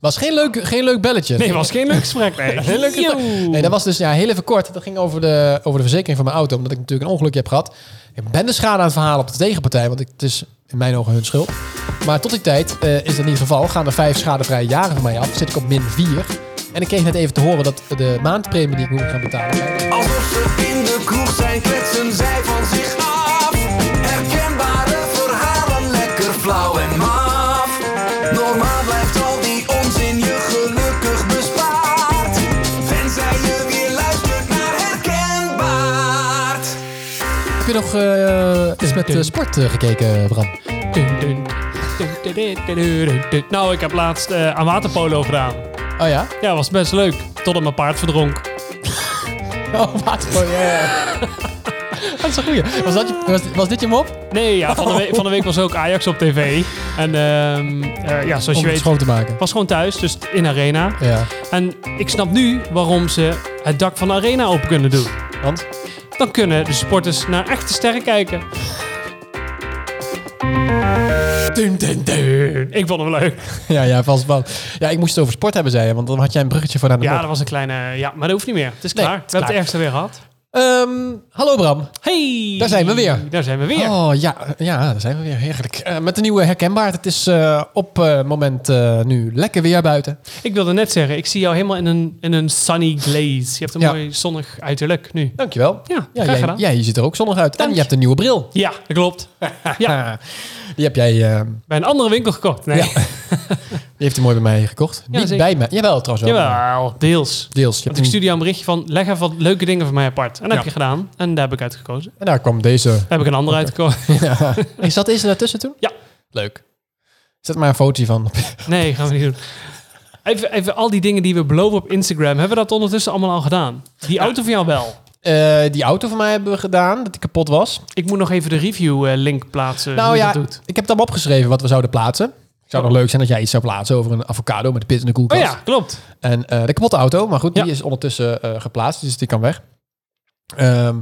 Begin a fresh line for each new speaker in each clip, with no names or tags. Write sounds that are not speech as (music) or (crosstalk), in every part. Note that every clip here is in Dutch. Was geen leuk, geen leuk belletje.
Nee, was geen leuk gesprek. Nee,
Heel leuk. Nee, dat was dus ja, heel even kort. Dat ging over de, over de verzekering van mijn auto. Omdat ik natuurlijk een ongelukje heb gehad. Ik ben de schade aan het verhalen op de tegenpartij. Want ik- het is in mijn ogen hun schuld. Maar tot die tijd eh, is dat niet het geval. Gaan er vijf schadevrije jaren van mij af. Zit ik op min 4. En ik kreeg net even te horen dat de maandpremie die ik moet gaan betalen.
Alsof ze in de kroeg zijn, kletsen zij van zich af. Herkenbare verhalen, lekker flauw en maf. Normaal blijft al die onzin je gelukkig bespaard. Tenzij je weer luistert naar herkenbaar.
Heb je nog eh, eens met eh, sport eh, gekeken, Bram?
Nou, ik heb laatst eh, aan waterpolo gedaan.
Oh ja?
Ja, was best leuk. Totdat mijn paard verdronk.
Oh, wat voor je.
(laughs)
Dat is een goeie. Was, dat je, was, was dit je mop?
Nee, ja, van, de week, van de week was ook Ajax op tv. En ehm, eh, ja, zoals
Om
je
het
weet...
schoon te maken.
was gewoon thuis, dus in Arena.
Ja.
En ik snap nu waarom ze het dak van de Arena open kunnen doen.
Want?
Dan kunnen de sporters naar echte sterren kijken.
Dun, dun, dun.
Ik vond hem leuk.
Ja, ja, vast wel. Ja, ik moest het over sport hebben, zei je, want dan had jij een bruggetje voor naar de
Ja,
mop.
dat was een kleine... Ja, maar dat hoeft niet meer. Het is
Nee,
klaar.
het is
We hebben
klaar.
het ergste weer gehad.
Ehm, hallo Bram.
Hey!
Daar zijn we weer.
Daar zijn we weer.
Oh ja, ja, daar zijn we weer. Heerlijk. Eh, met de nieuwe herkenbaar. Het is eh, op eh, moment eh, nu lekker weer buiten.
Ik wilde net zeggen, ik zie jou helemaal in een, in een sunny glaze. Je hebt een
Ja.
mooi zonnig uiterlijk nu.
Dankjewel.
Ja,
ja
graag
jij,
gedaan.
jij je ziet er ook zonnig uit.
Dank
En
je.
je hebt een nieuwe bril.
Ja, dat klopt.
Ah, Die heb jij. eh,
Bij een andere winkel gekocht. Nee.
Ja.
(laughs)
die heeft hij mooi bij mij gekocht. Niet
zeker.
bij mij. Jawel, trouwens wel.
Jawel, deels.
Deels. Je hebt
Want ik
hem-
stuurde jou een berichtje van, leg even wat leuke dingen van mij apart. En dat
Hm. Ja.
heb je gedaan. En daar heb ik uitgekozen.
En daar kwam
(laughs)
deze.
Daar heb ik een andere uitgekozen.
ja. Is dat deze daartussen toen?
Ja.
Leuk. Zet maar een foto van.
(laughs) Nee, gaan we niet doen. Even, even al die dingen die we beloven op Instagram. Hebben we dat ondertussen allemaal al gedaan? Die auto van jou wel.
Eh, die auto van mij hebben we gedaan, dat die kapot was.
Ik moet nog even de review eh, link plaatsen.
nou
Dus hoe je
ja,
dat doet.
ik heb het allemaal opgeschreven wat we zouden plaatsen. Het zou nog leuk zijn dat jij iets zou plaatsen over een avocado met de pit in de
Oh
koelkast.
ja, klopt.
En eh, de kapotte auto, maar goed,
Ja.
die is ondertussen eh, geplaatst, dus die kan weg. Ehm,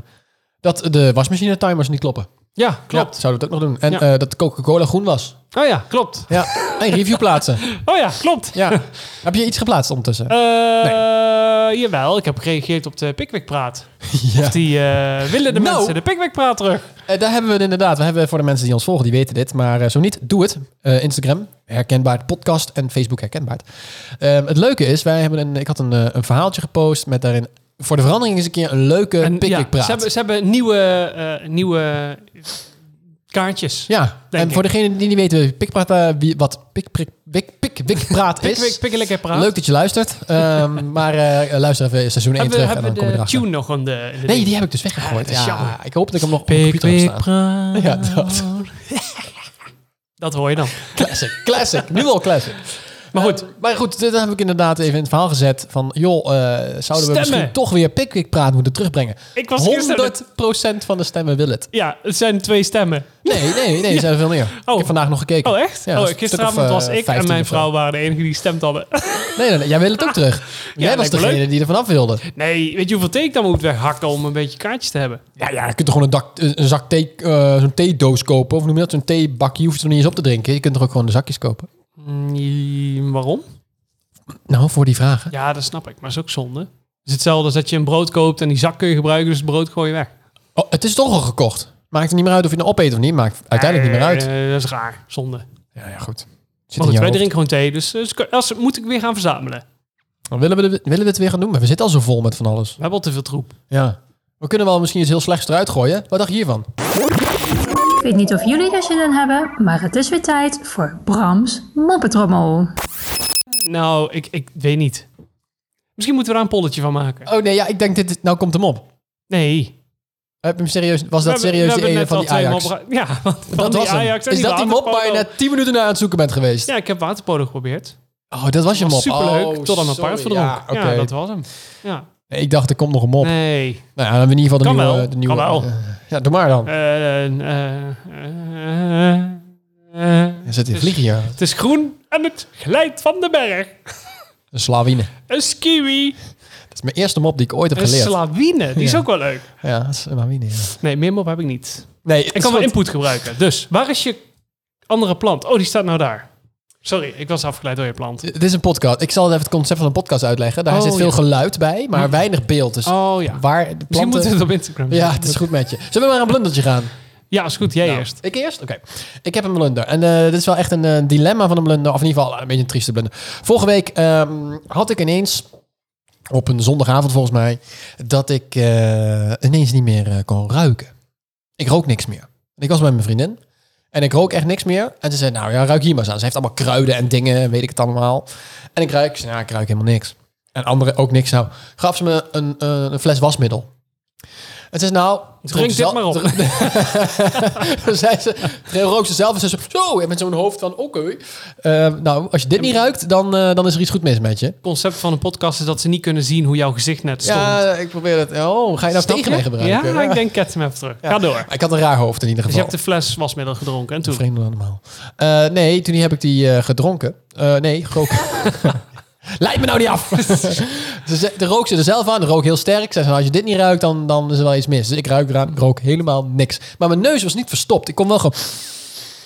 dat de wasmachine timers niet kloppen.
Ja, klopt.
Ja, zouden we dat ook nog doen. En
Ja.
eh, dat Coca-Cola groen was.
Oh ja, klopt.
Ja, (laughs) en review plaatsen.
(laughs) Oh ja, klopt.
Ja. Heb je iets geplaatst ondertussen?
Eh, Jawel, ik heb gereageerd op de Pickwick Praat.
(laughs) ja.
Die eh, willen de
Nou.
mensen de Pickwick Praat terug.
Eh, daar hebben we het inderdaad. We hebben voor de mensen die ons volgen, die weten dit. Maar eh, zo niet, doe het. Eh, Instagram, herkenbaar, podcast en Facebook herkenbaar. Ehm, het leuke is, wij hebben een, ik had een, eh, een verhaaltje gepost met daarin... Voor de verandering eens een keer een leuke
En
pickwick
ja,
praat.
ze hebben, ze hebben nieuwe, eh, nieuwe kaartjes.
ja,
Denk
en
ik.
voor degenen die niet weten wie pikpraat, eh, wie, wat pik, prik, pik, pik, pik praat
Pickwick,
is...
Pickwick Praat.
Leuk dat je luistert.
(laughs)
Ehm, maar eh, luister even seizoen 1
Hebben,
terug
we-
en dan
hebben
kom je
we de
erachter.
tune nog aan de... in de
Nee,
ding?
die heb ik dus weggegooid.
Ja, dat is
Ja,
jammer.
ik hoop dat ik hem nog op de
Pik,
computer heb
pik,
staan.
praat.
Ja, dat. (laughs)
Dat hoor je dan.
Classic, classic. nu al classic.
Maar goed.
Eh, (laughs) maar goed, dit heb ik inderdaad even in het verhaal gezet. Van, joh, eh, zouden we
Stemmen.
misschien toch weer Pickwick Praat moeten terugbrengen?
Ik was gisteren...
100% van de stemmen wil het.
Ja, het zijn twee stemmen.
Nee, nee,
(laughs)
nee, er zijn er veel meer. Ik
Oh.
heb vandaag nog gekeken.
Oh, echt?
Ja, dat
oh,
is een stuk
gisteravond
of, eh,
was ik
15
en mijn
of zo.
vrouw waren de enige die stemd hadden. (laughs)
Nee, nee, nee, jij wil het ook terug. jij was
lijkt me
degene die er vanaf wilde.
nee, weet je hoeveel thee ik dan moet weghakken om een beetje kaartjes te hebben?
Ja, ja, je kunt toch gewoon een, dak, een zak thee, eh, zo'n theedoos kopen. Of noem je dat, zo'n theebakje. Je hoeft er niet eens op te drinken. Je kunt er ook gewoon de zakjes kopen.
Mm, waarom?
Nou, voor die vragen.
Ja, dat snap ik, maar dat is ook zonde. Het is hetzelfde als dat je een brood koopt en die zak kun je gebruiken, dus het brood gooi je weg.
Oh, het is toch al gekocht. Maakt het niet meer uit of je het nou opeet of niet. Maakt uiteindelijk niet meer uit.
Eh, dat is raar, zonde.
Ja, ja, goed. Zit in
Maar goed,
jouw
wij
hoofd.
drinken gewoon thee, dus, dus als, moet ik weer gaan verzamelen.
Dan willen we, de- willen we het weer gaan doen, maar we zitten al zo vol met van alles.
We hebben al te veel troep.
Ja. We kunnen wel misschien iets heel slechts eruit gooien. Wat dacht je hiervan?
Ik weet niet of jullie daar zin in hebben, maar het is weer tijd voor Brams moppetrommel.
Nou, ik, ik weet niet. Misschien moeten we daar een polletje van maken.
Oh nee, ja, ik denk dit, nou komt hem op.
Nee.
Heb je hem serieus, was
We
dat
hebben- we
serieus
hebben
die ene
net
van
al
die
twee
Ajax?
mopra- (laughs) Ja, van
Dat
die
was hem.
Ajax en
Is
die
dat die mop
waterpolo.
waar je net 10 minuten naar aan het zoeken bent geweest?
Ja, ik heb waterpolo geprobeerd.
Oh, dat was je
Dat
mop.
was superleuk,
Oh,
tot aan mijn
sorry.
paard verdronk.
Ja,
Ja,
oké.
dat was hem. Ja.
Nee, ik dacht, er komt nog een mop.
Nee.
Nou ja, dan hebben we in ieder geval de
Kan
nieuwe...
wel,
De nieuwe
kan wel.
eh, ja, doe maar dan.
Eh, eh, eh, eh, eh.
Er zit hier
dus-
vliegen hier.
Het is groen en het glijdt van de berg.
Een slawine.
Een skiwi.
Dat is mijn eerste mop die ik ooit heb
Een
geleerd.
slawine. Die is
Ja.
ook wel leuk.
ja, dat is een slawine. ja.
Nee, meer mop heb ik niet.
Nee, het
Ik
is
kan wel
goed.
input gebruiken. Dus, waar is je andere plant? Oh, die staat nou daar. Sorry, ik was afgeleid door je plant.
Dit is een podcast. Ik zal even het concept van een podcast uitleggen. Daar
Oh,
zit veel
ja.
geluid bij, maar weinig beeld. Dus
Oh ja.
waar de
Misschien moeten
planten...
we het op Instagram
Ja,
zetten.
het is goed met je. Zullen we maar een blundertje gaan?
Ja, is goed. Jij
Nou,
(laughs) eerst.
Ik eerst? Oké. Ik heb een blunder. En eh, dit is wel echt een eh, dilemma van een blunder. Of in ieder geval eh, een beetje een trieste blunder. Vorige week ehm, had ik ineens, op een zondagavond volgens mij, dat ik eh, ineens niet meer eh, kon ruiken. Ik rook niks meer. En ik was met mijn vriendin. En ik rook echt niks meer. En ze zei, nou ja, ruik hier maar eens aan. Ze heeft allemaal kruiden en dingen, weet ik het allemaal. En ik ruik, ze zei, nou, ik ruik helemaal niks. En anderen ook niks. Nou, gaf ze me een, eh, een fles wasmiddel. Het is nou...
Drink dit maar op.
(laughs) Dan zei ze, dan rookt ze zelf en ze zo, zo, en met zo'n hoofd van, oké. Eh, nou, als je dit niet ruikt, dan, eh, dan is er iets goed mis met je.
Het concept van een podcast is dat ze niet kunnen zien hoe jouw gezicht net stond.
Ja, ik probeer het. Oh, ga je nou
Snap
tegen
je?
mij gebruiken?
Ja, ik denk ket hem even terug.
Ja.
Ga door.
Maar Ik had een raar hoofd in ieder
Dus
geval.
je hebt de fles wasmiddel gedronken en toen...
Vreemder dan normaal. Eh, nee, toen heb ik die eh, gedronken. Eh, nee, rook. Leid me nou niet af. ze, ze- de rook ze er zelf aan. De rook heel sterk. Ze zei, als je dit niet ruikt, dan, dan is er wel iets mis. Dus ik ruik eraan. Ik rook helemaal niks. Maar mijn neus was niet verstopt. Ik kon wel gewoon,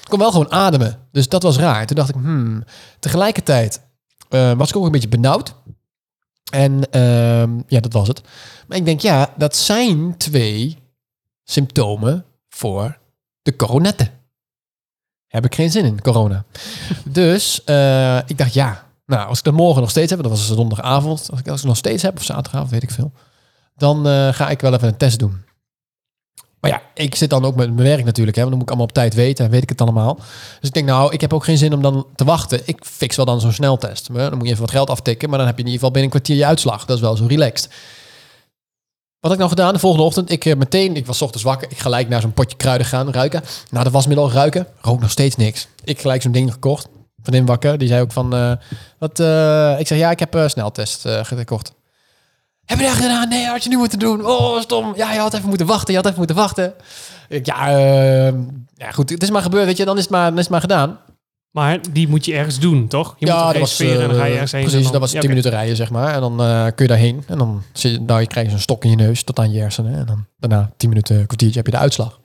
ik kon wel gewoon ademen. Dus dat was raar. Toen dacht ik, hmm. Tegelijkertijd eh, was ik ook een beetje benauwd. En ehm, ja, dat was het. Maar ik denk, ja, dat zijn twee symptomen voor de coronetten. Heb ik geen zin in, corona. dus eh, ik dacht, ja, nou, als ik dat morgen nog steeds heb, want dat was dus donderdagavond, als ik, als ik nog steeds heb, of zaterdagavond, weet ik veel, dan eh, ga ik wel even een test doen. Maar ja, ik zit dan ook met mijn werk natuurlijk, hè, want dan moet ik allemaal op tijd weten en weet ik het allemaal. Dus ik denk, nou, ik heb ook geen zin om dan te wachten. Ik fix wel dan zo'n sneltest. Maar Dan moet je even wat geld aftikken, maar dan heb je in ieder geval binnen een kwartier je uitslag. Dat is wel zo relaxed. Wat had ik nou gedaan? De volgende ochtend, ik eh, meteen, ik was 's ochtends wakker, ik gelijk naar zo'n potje kruiden gaan ruiken. Na de wasmiddel ruiken, rook nog steeds niks. Ik gelijk zo'n ding gekocht. Van in wakker, die zei ook van, eh, wat, eh, ik zeg ja, ik heb eh, sneltest eh, gekocht. Heb je dat gedaan? Nee, had je nu moeten doen. Oh, stom. Ja, je had even moeten wachten, je had even moeten wachten. Ik, ja, eh, ja, goed, het is maar gebeurd, weet je, dan is het maar, dan is het maar gedaan.
Maar die moet je ergens doen, toch? Je moet
ja,
er reserveren en dan ga je ergens
eh,
heen.
Precies,
en dan-
dat was
Ja,
10
oké.
minuten rijden, zeg maar. En dan eh, kun je daarheen. En dan zit, je- nou, je krijgt zo'n stok in je neus tot aan je hersenen. En dan daarna 10 minuten, een kwartiertje heb je de uitslag.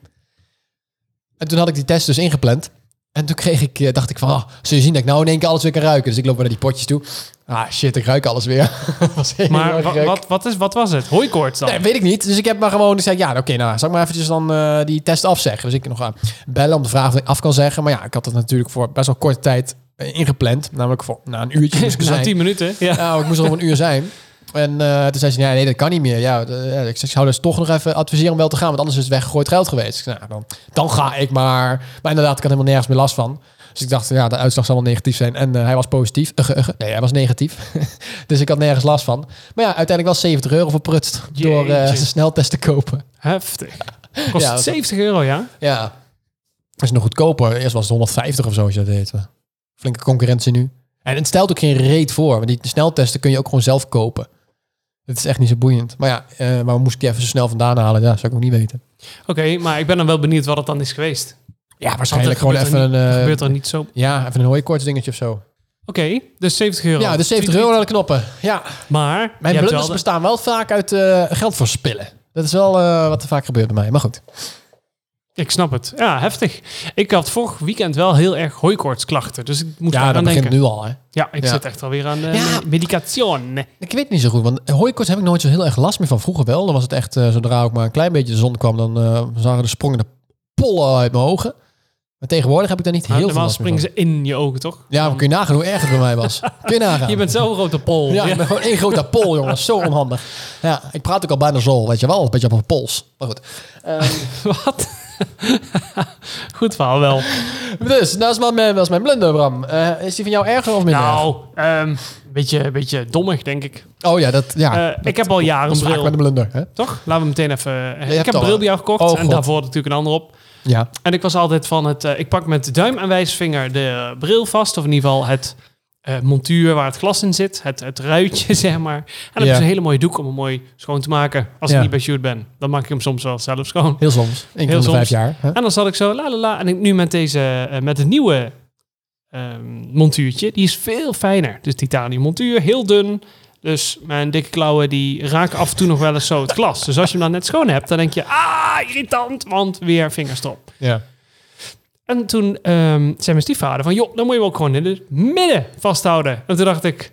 En toen had ik die test dus ingepland. En toen kreeg ik, eh, dacht ik van, ah, zul je zien dat ik nou in één keer alles weer kan ruiken. Dus ik loop weer naar die potjes toe. Ah shit, ik ruik alles weer. (laughs) Dat was heel
Maar
erg
wa-
leuk.
wat, wat, is, wat was het? Hooikoorts dan?
Nee, weet ik niet. Dus ik heb maar gewoon gezegd, ja, oké, nou, zal ik maar eventjes dan eh, die test afzeggen. Dus ik nog aan bellen om te vragen of ik af kan zeggen. Maar ja, ik had dat natuurlijk voor best wel korte tijd eh, ingepland. Namelijk voor, na een uurtje moest ik er
(laughs) Na
zijn.
tien minuten? Ja.
Nou, ik moest er om een uur zijn. En eh, toen zei ze, ja, nee, dat kan niet meer. Ja, d- ja, ik zeg, zou dus toch nog even adviseren om wel te gaan, want anders is het weggegooid geld geweest. Ik zei, nou, dan, dan ga ik maar. Maar inderdaad, ik had helemaal nergens meer last van. Dus ik dacht, ja, de uitslag zal wel negatief zijn. En eh, hij was positief. Ugge, ugge. Nee, hij was negatief. (laughs) dus ik had nergens last van. Maar ja, uiteindelijk wel 70 euro verprutst door eh,
Jeetje.
zijn sneltest te kopen.
(laughs) Heftig. Kost
Ja, dat-
70 euro, ja?
Ja, dat is nog goedkoper. Eerst was het 150 of zo, als je dat deed. Flinke concurrentie nu. En het stelt ook geen reet voor. Want die sneltesten kun je ook gewoon zelf kopen. Het is echt niet zo boeiend. Maar ja, eh waar moest ik die even zo snel vandaan halen? Ja, zou ik ook niet weten.
Oké, maar ik ben dan wel benieuwd wat het dan is geweest.
Ja,
Want
waarschijnlijk
er
gewoon
gebeurt
even
er
een...
niet- er
eh,
gebeurt er niet zo... Oké,
ja, even een hooikorts dingetje of zo.
dus 70 euro.
Ja, dus 70 euro naar de knoppen. Ja,
Maar...
mijn
je hebt
blunders
wel de-
bestaan wel vaak uit eh, geld verspillen. Dat is wel eh, wat er vaak gebeurt bij mij. Maar goed.
Ik snap het. Ja, heftig. Ik had vorig weekend wel heel erg hooikoortsklachten. Dus ik moet
Ja,
daar
dat
aan
begint
denken.
nu al, hè.
Ja, ik
Ja.
zit echt alweer aan de
Ja.
medication.
Ik weet het niet zo goed, want hooikoorts heb ik nooit zo heel erg last meer van. Vroeger wel, dan was het echt, eh, zodra ook maar een klein beetje de zon kwam, dan eh, zagen de sprongen de pollen uit mijn ogen. Maar tegenwoordig heb ik daar niet
Maar
heel veel
Ah, normaal
last meer van.
springen ze in je ogen, toch?
Ja, maar kun je nagaan hoe erg het bij mij
(laughs)
was. Kun je nagaan.
Je bent zo groot op pol.
ja,
Ja,
ik ben gewoon één grote pol, jongens. Zo onhandig. Ja, ik praat ook al bijna zo, weet je wel. Een beetje op mijn pols. Maar goed.
(laughs) Wat? (laughs) Goed verhaal wel.
Dus, dat is mijn, dat is mijn blunder, Bram. Eh, is die van jou erger of minder
Nou, ehm, een beetje, beetje dommig, denk ik.
erg? Oh ja, dat, ja,
Eh, ik heb al jaren
dat is
een
vaak
bril.
met een blunder. Hè?
Toch? Laten we meteen even... ik
hebt al
heb een bril
een-
bij jou gekocht.
Oh,
en
God.
daarvoor natuurlijk een ander op.
Ja.
En ik was altijd van het... eh, ik pak met duim en wijsvinger de bril vast. Of in ieder geval het eh, montuur waar het glas in zit. Het, het ruitje, (laughs) zeg maar. En dan
Ja.
heb ik een hele mooie doek om hem mooi schoon te maken. Als
Ja.
ik niet bij Sjoerd ben. Dan maak ik hem soms wel zelf schoon.
Heel soms. Eén keer
Heel
in de vijf
soms.
jaar. Hè?
En dan zat ik zo, la la la. En ik nu met deze, eh, met het nieuwe ehm, montuurtje, die is veel fijner. Dus titanium montuur, heel dun. Dus mijn dikke klauwen, die raken af en toe nog wel eens zo het glas. Dus als je hem dan net schoon hebt, dan denk je, ah, irritant, want weer vingers erop.
Ja.
En toen ehm, zei mijn stiefvader van, joh, dan moet je hem ook gewoon in het midden vasthouden. En toen dacht ik,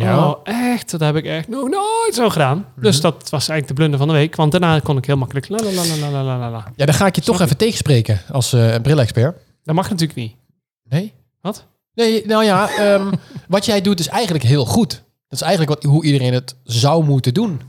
oh echt, dat heb ik echt nog nooit zo gedaan.
Mhm.
Dus dat was eigenlijk de blunder van de week. Want daarna kon ik heel makkelijk la la la la la la la la.
Ja, dan ga ik je toch even tegenspreken als eh bril-expert.
Dat mag natuurlijk niet.
Nee?
Wat?
Nee, nou
(laughs)
ja, ehm, wat jij doet is eigenlijk heel goed. Dat is eigenlijk wat, hoe iedereen het zou moeten doen.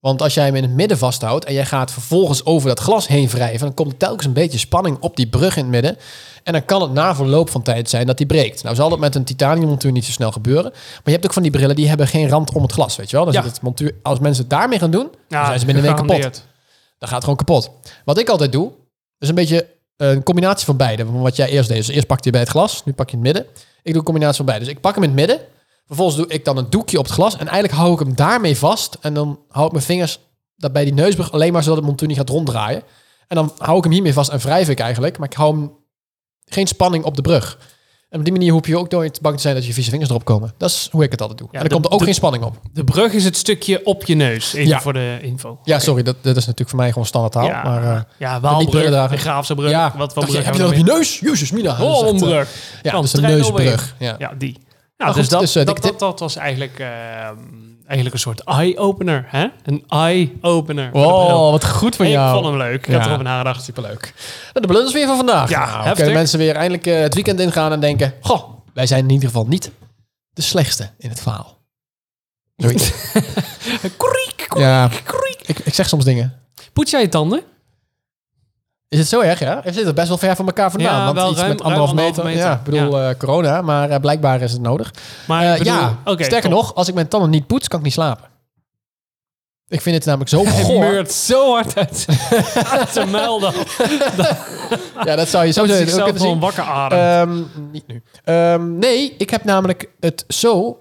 Want als jij hem in het midden vasthoudt en jij gaat vervolgens over dat glas heen wrijven, dan komt er telkens een beetje spanning op die brug in het midden. En dan kan het na verloop van tijd zijn dat die breekt. Nou zal dat met een titaniummontuur niet zo snel gebeuren. Maar je hebt ook van die brillen die hebben geen rand om het glas, weet je wel. Dan
Ja.
zit het montuur, als mensen het daarmee gaan doen, dan
Ja,
zijn ze binnen een week kapot.
gegarandeerd.
Dan gaat het gewoon kapot. Wat ik altijd doe, is een beetje eh, een combinatie van beide. Van wat jij eerst deed. Dus eerst pakte je bij het glas, nu pak je het midden. Ik doe een combinatie van beide. Dus ik pak hem in het midden. Vervolgens doe ik dan een doekje op het glas. En eigenlijk hou ik hem daarmee vast. En dan hou ik mijn vingers dat bij die neusbrug alleen maar zodat het montuur niet gaat ronddraaien. En dan hou ik hem hiermee vast en wrijf ik eigenlijk. Maar ik hou hem geen spanning op de brug. En op die manier hoef je ook nooit bang te zijn dat je vieze vingers erop komen. Dat is hoe ik het altijd doe. en
de-
er komt er ook
de-
geen spanning op.
De brug is het stukje op je neus, even
Ja.
voor de info.
Ja, sorry, dat, dat is natuurlijk voor mij gewoon standaard taal.
Ja,
Maar, eh,
ja
niet
Waalbrug,
brillen dragen.
de Graafse brug.
ja,
Wat, wat
Dacht je,
brug
heb je dat op je neus? Jezus, Mina. Dat
Oh,
is echt, eh,
Holmbrug.
Ja,
Kan
dat is een
trein
neusbrug.
overheen.
Ja.
Ja, die.
Nou,
Nou,
goed,
dus dat,
dus, eh,
dat,
dikke
dat,
tip.
dat was eigenlijk, ehm, eigenlijk een soort eye-opener. hè? Een eye-opener. voor de bril.
Oh, wat goed van
En ik
jou.
vond hem leuk. Ik
Ja.
had erop nagedacht.
Superleuk. Nou, de blunders weer van vandaag.
Ja,
nou,
heftig.
kunnen mensen weer eindelijk eh, het weekend ingaan en denken... Goh, wij zijn in ieder geval niet de slechtste in het verhaal.
(laughs)
Zoiets.
Kriek, kriek,
ja,
kriek.
ik, ik zeg soms dingen.
Poets jij je tanden?
Is het zo erg, ja? We zitten best wel ver van elkaar vandaan.
Ja,
want
wel
iets
ruim-
met anderhalf
ruim
meter.
anderhalf
Ja, ik
meter.
bedoel eh, corona, maar eh, blijkbaar is het nodig.
Maar
Eh,
ik bedoel-
ja,
oké,
sterker
top.
nog, als ik mijn tanden niet poets, kan ik niet slapen. Ik vind het namelijk
(laughs)
zo Oh,
Hij
goor.
meurt zo hard (laughs) uit, uit zijn muil dan.
Ja, dat zou je zo
Dat hij
kunnen
zichzelf
zien.
gewoon wakker ademt.
Ehm, niet nu. Ehm, nee, ik heb namelijk het zo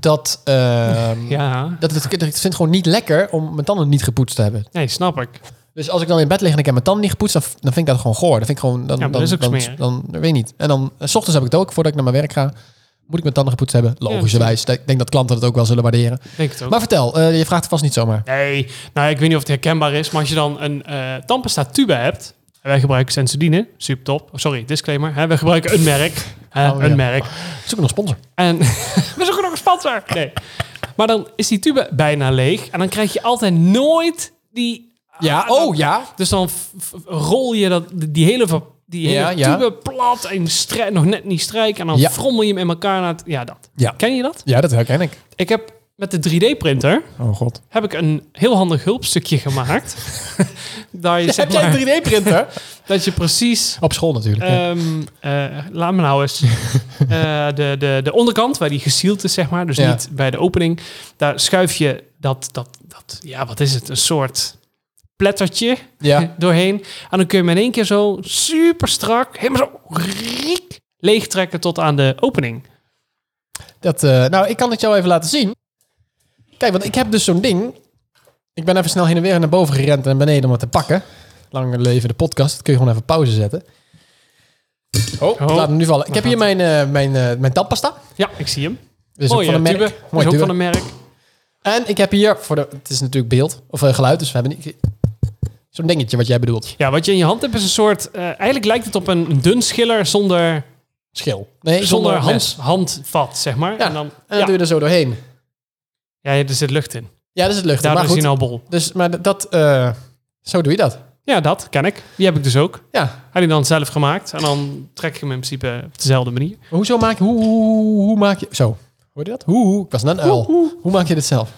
dat, ehm,
ja,
dat het, ik vind het gewoon niet lekker om mijn tanden niet gepoetst te hebben.
nee, snap ik.
Dus als ik dan in bed lig en ik heb mijn tanden niet gepoetst, dan, dan vind ik dat gewoon goor. Dan vind ik gewoon, dan,
Ja, maar
dan,
dat is ook
dan,
smerig.
dan- weet ik niet. En dan, eh, s ochtends heb ik het ook, voordat ik naar mijn werk ga, moet ik mijn tanden gepoetst hebben. Logischerwijs. ik denk dat klanten dat ook wel zullen waarderen.
Denk het ook.
Maar vertel, eh, je vraagt het vast niet zomaar.
Nee, nou ik weet niet of het herkenbaar is, maar als je dan een eh tandpasta tube hebt, en wij gebruiken Sensodyne, super top. Oh, sorry, disclaimer. Hè, wij gebruiken een merk, hè,
Oh,
een
ja.
merk.
Zoek nog een sponsor.
En (laughs) we zoeken nog een sponsor. Nee, maar dan is die tube bijna leeg en dan krijg je altijd nooit die.
Ja,
Ah, dan-
oh ja.
Dus dan f- f- rol je dat die hele ver- die hele
Ja, ja.
tube plat en strij- nog net niet strijken en dan
Ja.
frommel je hem in elkaar naar het, ja dat.
Ja.
Ken je dat?
Ja, dat herken ik.
Ik heb met de 3D printer
Oh god.
heb ik een heel handig hulpstukje
(laughs)
gemaakt. Daar je, zeg
Heb jij
maar,
een
(laughs)
3D-printer?
dat je precies...
Op school natuurlijk. ja.
ehm, eh, laat me
(laughs)
nou eens... eh, de, de, de onderkant, waar die gesield is, zeg maar. Dus
Ja.
niet bij de opening. Daar schuif je dat, dat, dat... Ja, wat is het? Een soort plettertje
ja.
(laughs) doorheen. En dan kun je hem in één keer zo super strak... Helemaal zo... Riek, leegtrekken tot aan de opening.
Dat, eh, nou, ik kan het jou even laten zien. Kijk, want ik heb dus zo'n ding. Ik ben even snel heen en weer naar boven gerend en naar beneden om het te pakken. Lang leven de podcast. Dat kun je gewoon even pauze zetten. Oh, ik laat hem nu vallen. Ik heb hier mijn, eh, mijn, eh, mijn tandpasta.
Ja, ik zie hem.
Dit is ook
Mooi,
van een merk.
Mooi,
Mooi
is ook
tube.
van een merk.
En ik heb hier, voor de, het is natuurlijk beeld of eh, geluid, dus we hebben niet... Zo'n dingetje wat jij bedoelt.
Ja, wat je in je hand hebt is een soort... eh, eigenlijk lijkt het op een, een dun schiller zonder,
Schil. Nee,
zonder
mes.
hand, handvat, zeg maar.
Ja,
en dan,
En dan
ja.
doe je er zo doorheen.
ja, er zit lucht in.
Ja, dat is het lucht.
Daardoor
Maar
is hij
goed,
nou bol.
dus, maar dat, eh, zo doe je dat.
Ja, dat ken ik. Die heb ik dus ook.
Ja,
Had hij dan zelf gemaakt. En dan trek ik hem in principe op dezelfde manier.
Maar Hoezo maak je... Hoe, hoe, hoe- hoe maak je... Zo. Hoor je dat? Hoe, hoe. Ik was net een uil. Hoe, maak je dit zelf?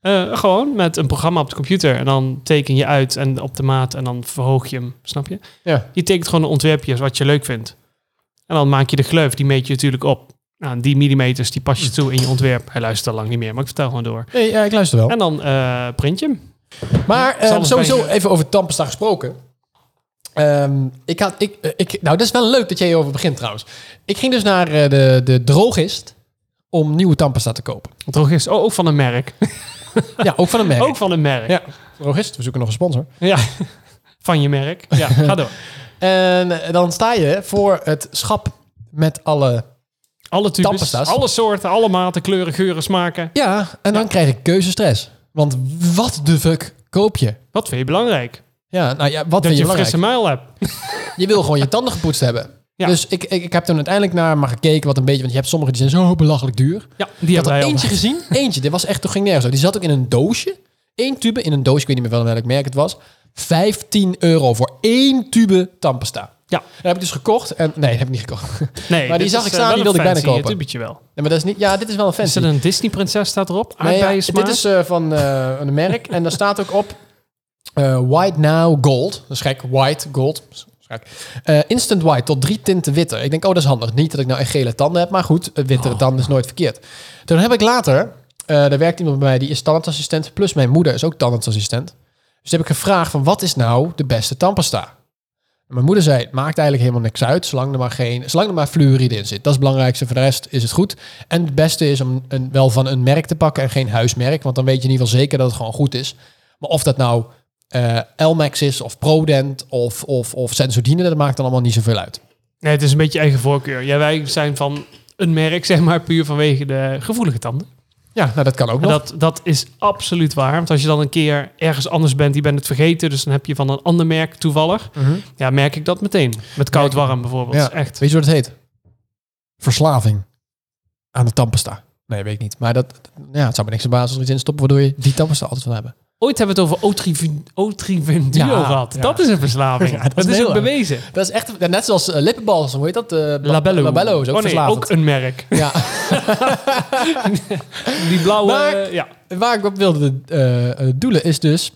Eh, gewoon met een programma op de computer. En dan teken je uit en op de maat. En dan verhoog je hem. Snap je?
Ja.
Je tekent gewoon een ontwerpje wat je leuk vindt. En dan maak je de gleuf. Die meet je natuurlijk op. Nou, en die millimeters, die
Hmm.
pas je toe in je ontwerp. Hij luistert al lang niet meer, maar ik vertel gewoon door.
Nee, ja, ik luister wel.
En dan eh, print je hem.
maar eh,
Zal ik
sowieso
bij-
even over tandpasta gesproken. Ehm, ik had... Ik, eh, ik, nou, dat is wel leuk dat jij hierover begint trouwens. Ik ging dus naar eh, de, de drogist om nieuwe tandpasta te kopen.
Drogist, oh, ook van een merk.
ja, ook van een merk.
Ook van een merk.
Ja. Drogist, we zoeken nog een sponsor.
Ja. (laughs) Van je merk.
(laughs)
Ja, ga door.
En eh, dan sta je voor het schap met alle...
Alle types,
Tampasta's.
alle soorten, alle maten, kleuren, geuren, smaken.
Ja, en dan krijg ik keuzestress. Want wat de fuck koop je?
Wat vind je belangrijk?
Ja, nou ja, wat
Dat
vind
je
je
een frisse
belangrijk?
muil hebt.
Je wil gewoon je tanden gepoetst hebben.
Ja.
Dus ik, ik, ik heb toen uiteindelijk naar maar gekeken wat een beetje... Want je hebt sommige die zijn zo belachelijk duur.
Ja, die
Ik
hebben
had
wij
er
al.
eentje
(laughs)
gezien. Eentje. Dit was echt, toen ging nergens over. Die zat ook in een doosje. Eén tube in een doosje. Ik weet niet meer wel welk merk het was. 15 euro voor één tube tandpasta.
Ja.
Dat heb ik dus gekocht. En, nee, dat heb ik niet gekocht. (laughs)
Nee,
Maar die
dit
zag
is,
ik staan,
eh,
die
wel een
wilde ik bijna
fancy, eh,
kopen.
tubetje wel.
Nee, maar dat is niet, ja, dit is wel een
Is
fancy.
er een Disney-prinses staat erop?
Nee, ja,
Aardbeien
dit is eh, van eh, een merk. en daar staat ook op eh, White Now Gold. Dat is gek. White Gold. Dat is gek. Eh, instant white tot drie tinten witter. Ik denk, oh, dat is handig. Niet dat ik nou echt gele tanden heb, maar goed, eh, wittere tanden is nooit verkeerd. Toen heb ik later, eh daar werkt iemand bij mij, die is tandartsassistent, plus mijn moeder is ook tandartsassistent. Dus heb ik gevraagd van, wat is nou de beste tandpasta? En Mijn moeder zei, het maakt eigenlijk helemaal niks uit, zolang er maar, geen, zolang er maar fluoride in zit. Dat is het belangrijkste, voor de rest is het goed. En het beste is om een, wel van een merk te pakken en geen huismerk, want dan weet je in ieder geval zeker dat het gewoon goed is. Maar of dat nou eh Elmex is, of Prodent, of, of, of Sensodyne, dat maakt dan allemaal niet zoveel uit.
Nee, het is een beetje eigen voorkeur. Ja, wij zijn van een merk, (laughs) zeg maar, puur vanwege de gevoelige tanden.
Ja, nou dat kan ook
En
nog.
dat, dat is absoluut waar. Want als je dan een keer ergens anders bent, die bent het vergeten. Dus dan heb je van een ander merk toevallig.
Mhm.
Ja, merk ik dat meteen. Met koud warm bijvoorbeeld.
Ja.
Echt.
Weet je wat het heet? Verslaving aan de tandpasta. Nee, weet ik niet. Maar dat, ja, het zou me niks verbazen als er iets in stoppen, waardoor je die tandpasta altijd van hebben.
Ooit hebben we het over Otrivin- Otrivinduo
Ja,
gehad.
ja.
Dat is een verslaving.
(laughs) Ja, dat
dat,
is
is
heel
ook
erg.
bewezen.
Dat is echt, net zoals eh, lippenbalsem, hoe heet dat? Eh, ba-
Labello.
Labello is ook
oh, nee,
verslavend.
ook een merk.
(laughs) Ja.
Die blauwe...
Maar-
eh, ja.
Waar ik op wilde eh, eh, doelen is dus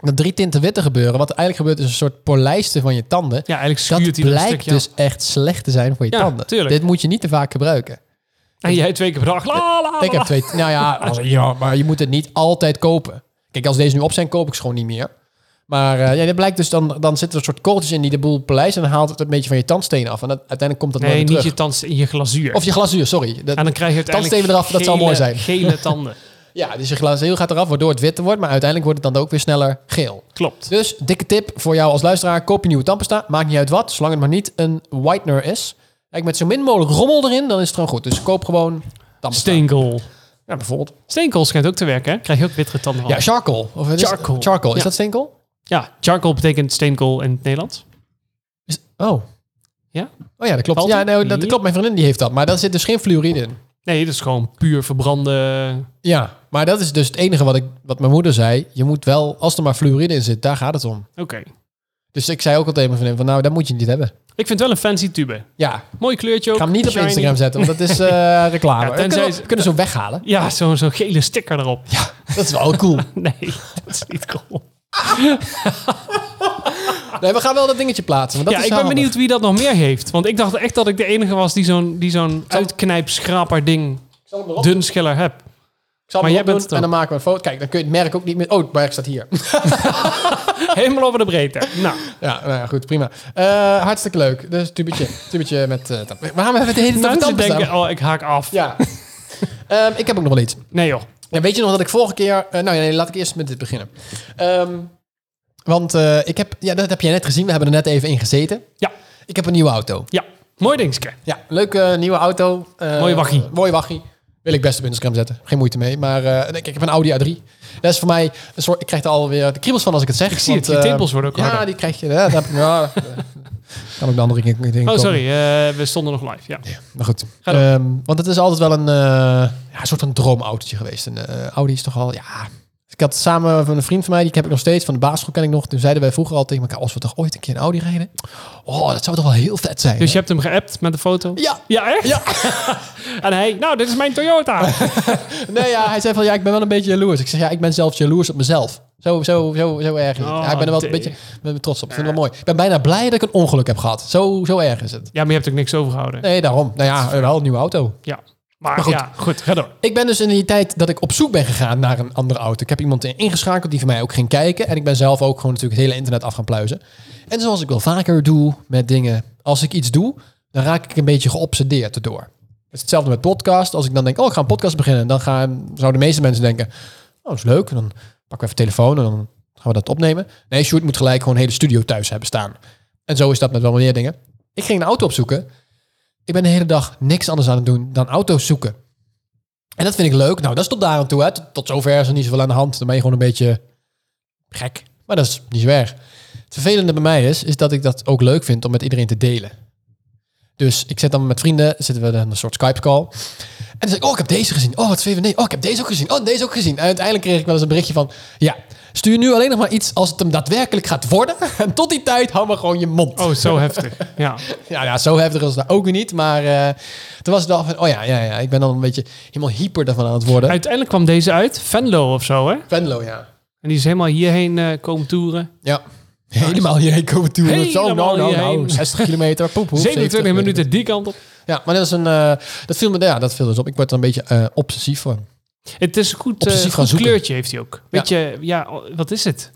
dat drie tinten witte gebeuren. Wat er eigenlijk gebeurt is een soort polijsten van je tanden.
ja, eigenlijk schuurt
dat
hij er een
blijkt
stukje
dus echt slecht te zijn voor je
Ja,
tanden.
tuurlijk.
Dit moet je niet te vaak gebruiken.
af. En jij twee keer per dag. La, la, la,
Ik heb twee. Nou
(laughs)
ja, als- ja, maar je moet het niet altijd kopen. Kijk, als deze nu op zijn, koop ik ze gewoon niet meer. Maar eh, ja, dat blijkt dus dan, dan zitten er een soort korreltjes in die de boel polijsten en dan haalt het een beetje van je tandstenen af. En dat, uiteindelijk komt dat
Nee,
nooit
niet
weer
je
terug.
tanden in je glazuur.
Of je glazuur, sorry. Dat,
en dan krijg je uiteindelijk
Tandstenen eraf, dat zou mooi
gele-
zijn.
gele
(laughs)
tanden.
ja, dus je glazuur gaat eraf, waardoor het witter wordt. Maar uiteindelijk wordt het dan ook weer sneller geel.
Klopt.
Dus dikke tip voor jou als luisteraar. Koop je nieuwe tandpasta. Maakt niet uit wat, zolang het maar niet een whitener is. Kijk, met zo min mogelijk rommel erin, dan is het gewoon goed. Dus koop gewoon tandpasta.
Steenkool.
Ja, bijvoorbeeld.
Steenkool schijnt ook te werken, hè? Krijg je ook wittere tanden van.
Ja, charcoal. Of het is-
Charcoal.
charcoal. Is
Ja.
dat steenkool?
Ja, charcoal betekent steenkool in het Nederlands.
Is- oh.
Ja?
Oh ja, dat klopt.
Valt
Ja,
het?
nou, dat, dat klopt. Mijn vriendin die heeft dat. Maar daar zit dus geen fluoride in.
Nee, dat is gewoon puur verbrande...
Ja, maar dat is dus het enige wat, ik, wat mijn moeder zei. Je moet wel, als er maar fluoride in zit, daar gaat het om.
Oké.
Dus ik zei ook al tegen mijn vriendin van, nou, dat moet je niet hebben.
Ik vind het wel een fancy tube.
Ja, ik
Mooi kleurtje ook.
ga hem niet op
shiny.
Instagram zetten, want dat is
(laughs)
eh, reclame.
Ja,
We
tenzij
kunnen we
ze-
we kunnen zo'n weghalen.
(laughs) Ja, zo'n zo'n gele sticker erop. Ja.
Dat is wel cool.
(laughs) Nee, dat is niet cool.
Nee, we gaan wel dat dingetje plaatsen. Want dat
ja,
is
ik ben
handig.
benieuwd wie dat nog meer heeft. Want ik dacht echt dat ik de enige was die zo'n die zo'n uitknijpschraper ding
zal hem erop-
dun schiller heb.
Ik zal
maar
hem erop doen
jij bent het
en dan maken we een foto. Kijk, dan kun je het merk ook niet meer... Oh, het merk staat
(laughs)
hier.
Helemaal over de
(laughs)
breedte. Nou,
ja, nou ja, goed, prima. Eh, hartstikke leuk. Dus tubetje, tubetje met... eh tand- Waarom hebben we
(laughs)
het hele tijd over
mensen
tandpasta?
denken, oh, ik haak af.
Ja. Ehm, ik heb ook nog wel iets.
Nee joh.
Ja, weet je nog dat ik vorige keer... eh, nou ja, nee, laat ik eerst met dit beginnen. Ehm, want eh, ik heb... Ja, dat heb jij net gezien. We hebben er net even in gezeten.
Ja.
Ik heb een nieuwe auto.
Ja, mooi dingetje.
Ja, leuke nieuwe auto. Eh,
Mooie waggie.
Mooie waggie. Wil ik best op Instagram zetten. Geen moeite mee. Maar eh, nee, kijk, ik heb een Audi A3. Dat is voor mij een soort... Ik krijg er alweer de kriebels van als ik het zeg. Ik
zie het, je tepels worden ook
Ja,
harder.
die krijg je. Ja, dat heb ik, (laughs) ja, eh, kan ook de andere keer keer
Oh,
komen.
sorry. eh, we stonden nog live. Ja.
Maar goed.
Ga door.
Ehm, want het is altijd wel een, eh, ja, een soort van droomautootje geweest. Een eh, Audi is toch al... Ja. Ik had samen van een vriend van mij, die heb ik nog steeds, van de basisschool ken ik nog. Toen zeiden wij vroeger al tegen elkaar, als we toch ooit een keer een Audi rijden? Oh, dat zou toch wel heel vet zijn.
Dus je
hè?
hebt hem geappt met de foto?
Ja,
Ja, echt?
Ja.
(laughs) en hij, nou, dit is mijn Toyota.
Nee, ja, hij zei van ja, ik ben wel een beetje jaloers. Ik zeg ja, ik ben zelfs jaloers op mezelf. Zo, zo, zo, zo erg is het.
Oh,
ja, ik ben er wel een
nee.
beetje ben er trots op. Ik vind het wel mooi. Ik ben bijna blij dat ik een ongeluk heb gehad. Zo, zo erg is het.
ja, maar je hebt ook niks overgehouden.
Nee, daarom. Nou ja, wel een nieuwe auto.
Ja. Maar,
Maar goed.
ja, goed, ga door.
Ik ben dus in die tijd dat ik op zoek ben gegaan naar een andere auto. Ik heb iemand ingeschakeld die voor mij ook ging kijken. En ik ben zelf ook gewoon natuurlijk het hele internet af gaan pluizen. En zoals ik wel vaker doe met dingen. Als ik iets doe, dan raak ik een beetje geobsedeerd erdoor. Het is hetzelfde met podcast. Als ik dan denk, oh, ik ga een podcast beginnen. Dan gaan, zouden de meeste mensen denken, oh, dat is leuk. En dan pakken we even telefoon en dan gaan we dat opnemen. Nee, Sjoerd moet gelijk gewoon een hele studio thuis hebben staan. En zo is dat met wel meer dingen. Ik ging een auto opzoeken. Ik ben de hele dag niks anders aan het doen dan auto's zoeken. En dat vind ik leuk. Nou, dat is tot daar aan toe. Hè. Tot, tot zover is er niet zoveel aan de hand. Dan ben je gewoon een beetje gek. Maar Maar dat is niet zo erg. Het vervelende bij mij is, is dat ik dat ook leuk vind om met iedereen te delen. Dus ik zit dan met vrienden, zitten we dan een soort Skype-call. En dan zeg ik, oh, ik heb deze gezien. Oh, wat VVD. Oh, ik heb deze ook gezien. Oh, deze ook gezien. En uiteindelijk kreeg ik wel eens een berichtje van... Ja, stuur nu alleen nog maar iets als het hem daadwerkelijk gaat worden. (laughs) En tot die tijd hou maar gewoon je mond.
Oh, zo heftig. Ja.
Ja, ja, zo heftig was het nou ook weer niet. Maar eh, toen was het al van... Oh ja, ja, ja. Ik ben dan een beetje helemaal hyper daarvan aan het worden.
Uiteindelijk kwam deze uit, Venlo of zo, hè?
Venlo, ja.
En die is helemaal hierheen eh, komen toeren.
Ja. Helemaal hierheen komen toe. Zo,
Helemaal
nou, nou, nou.
hierheen. (laughs)
60 kilometer. Poep, poep,
27
70
minuten die kant op.
Ja, maar dat is een... eh, dat, viel me, ja, dat viel dus op. Ik word er een beetje eh, obsessief van.
Het is een goed, eh,
Obsessief gaan
goed
zoeken.
kleurtje heeft hij ook. Weet je, ja, o- wat is het?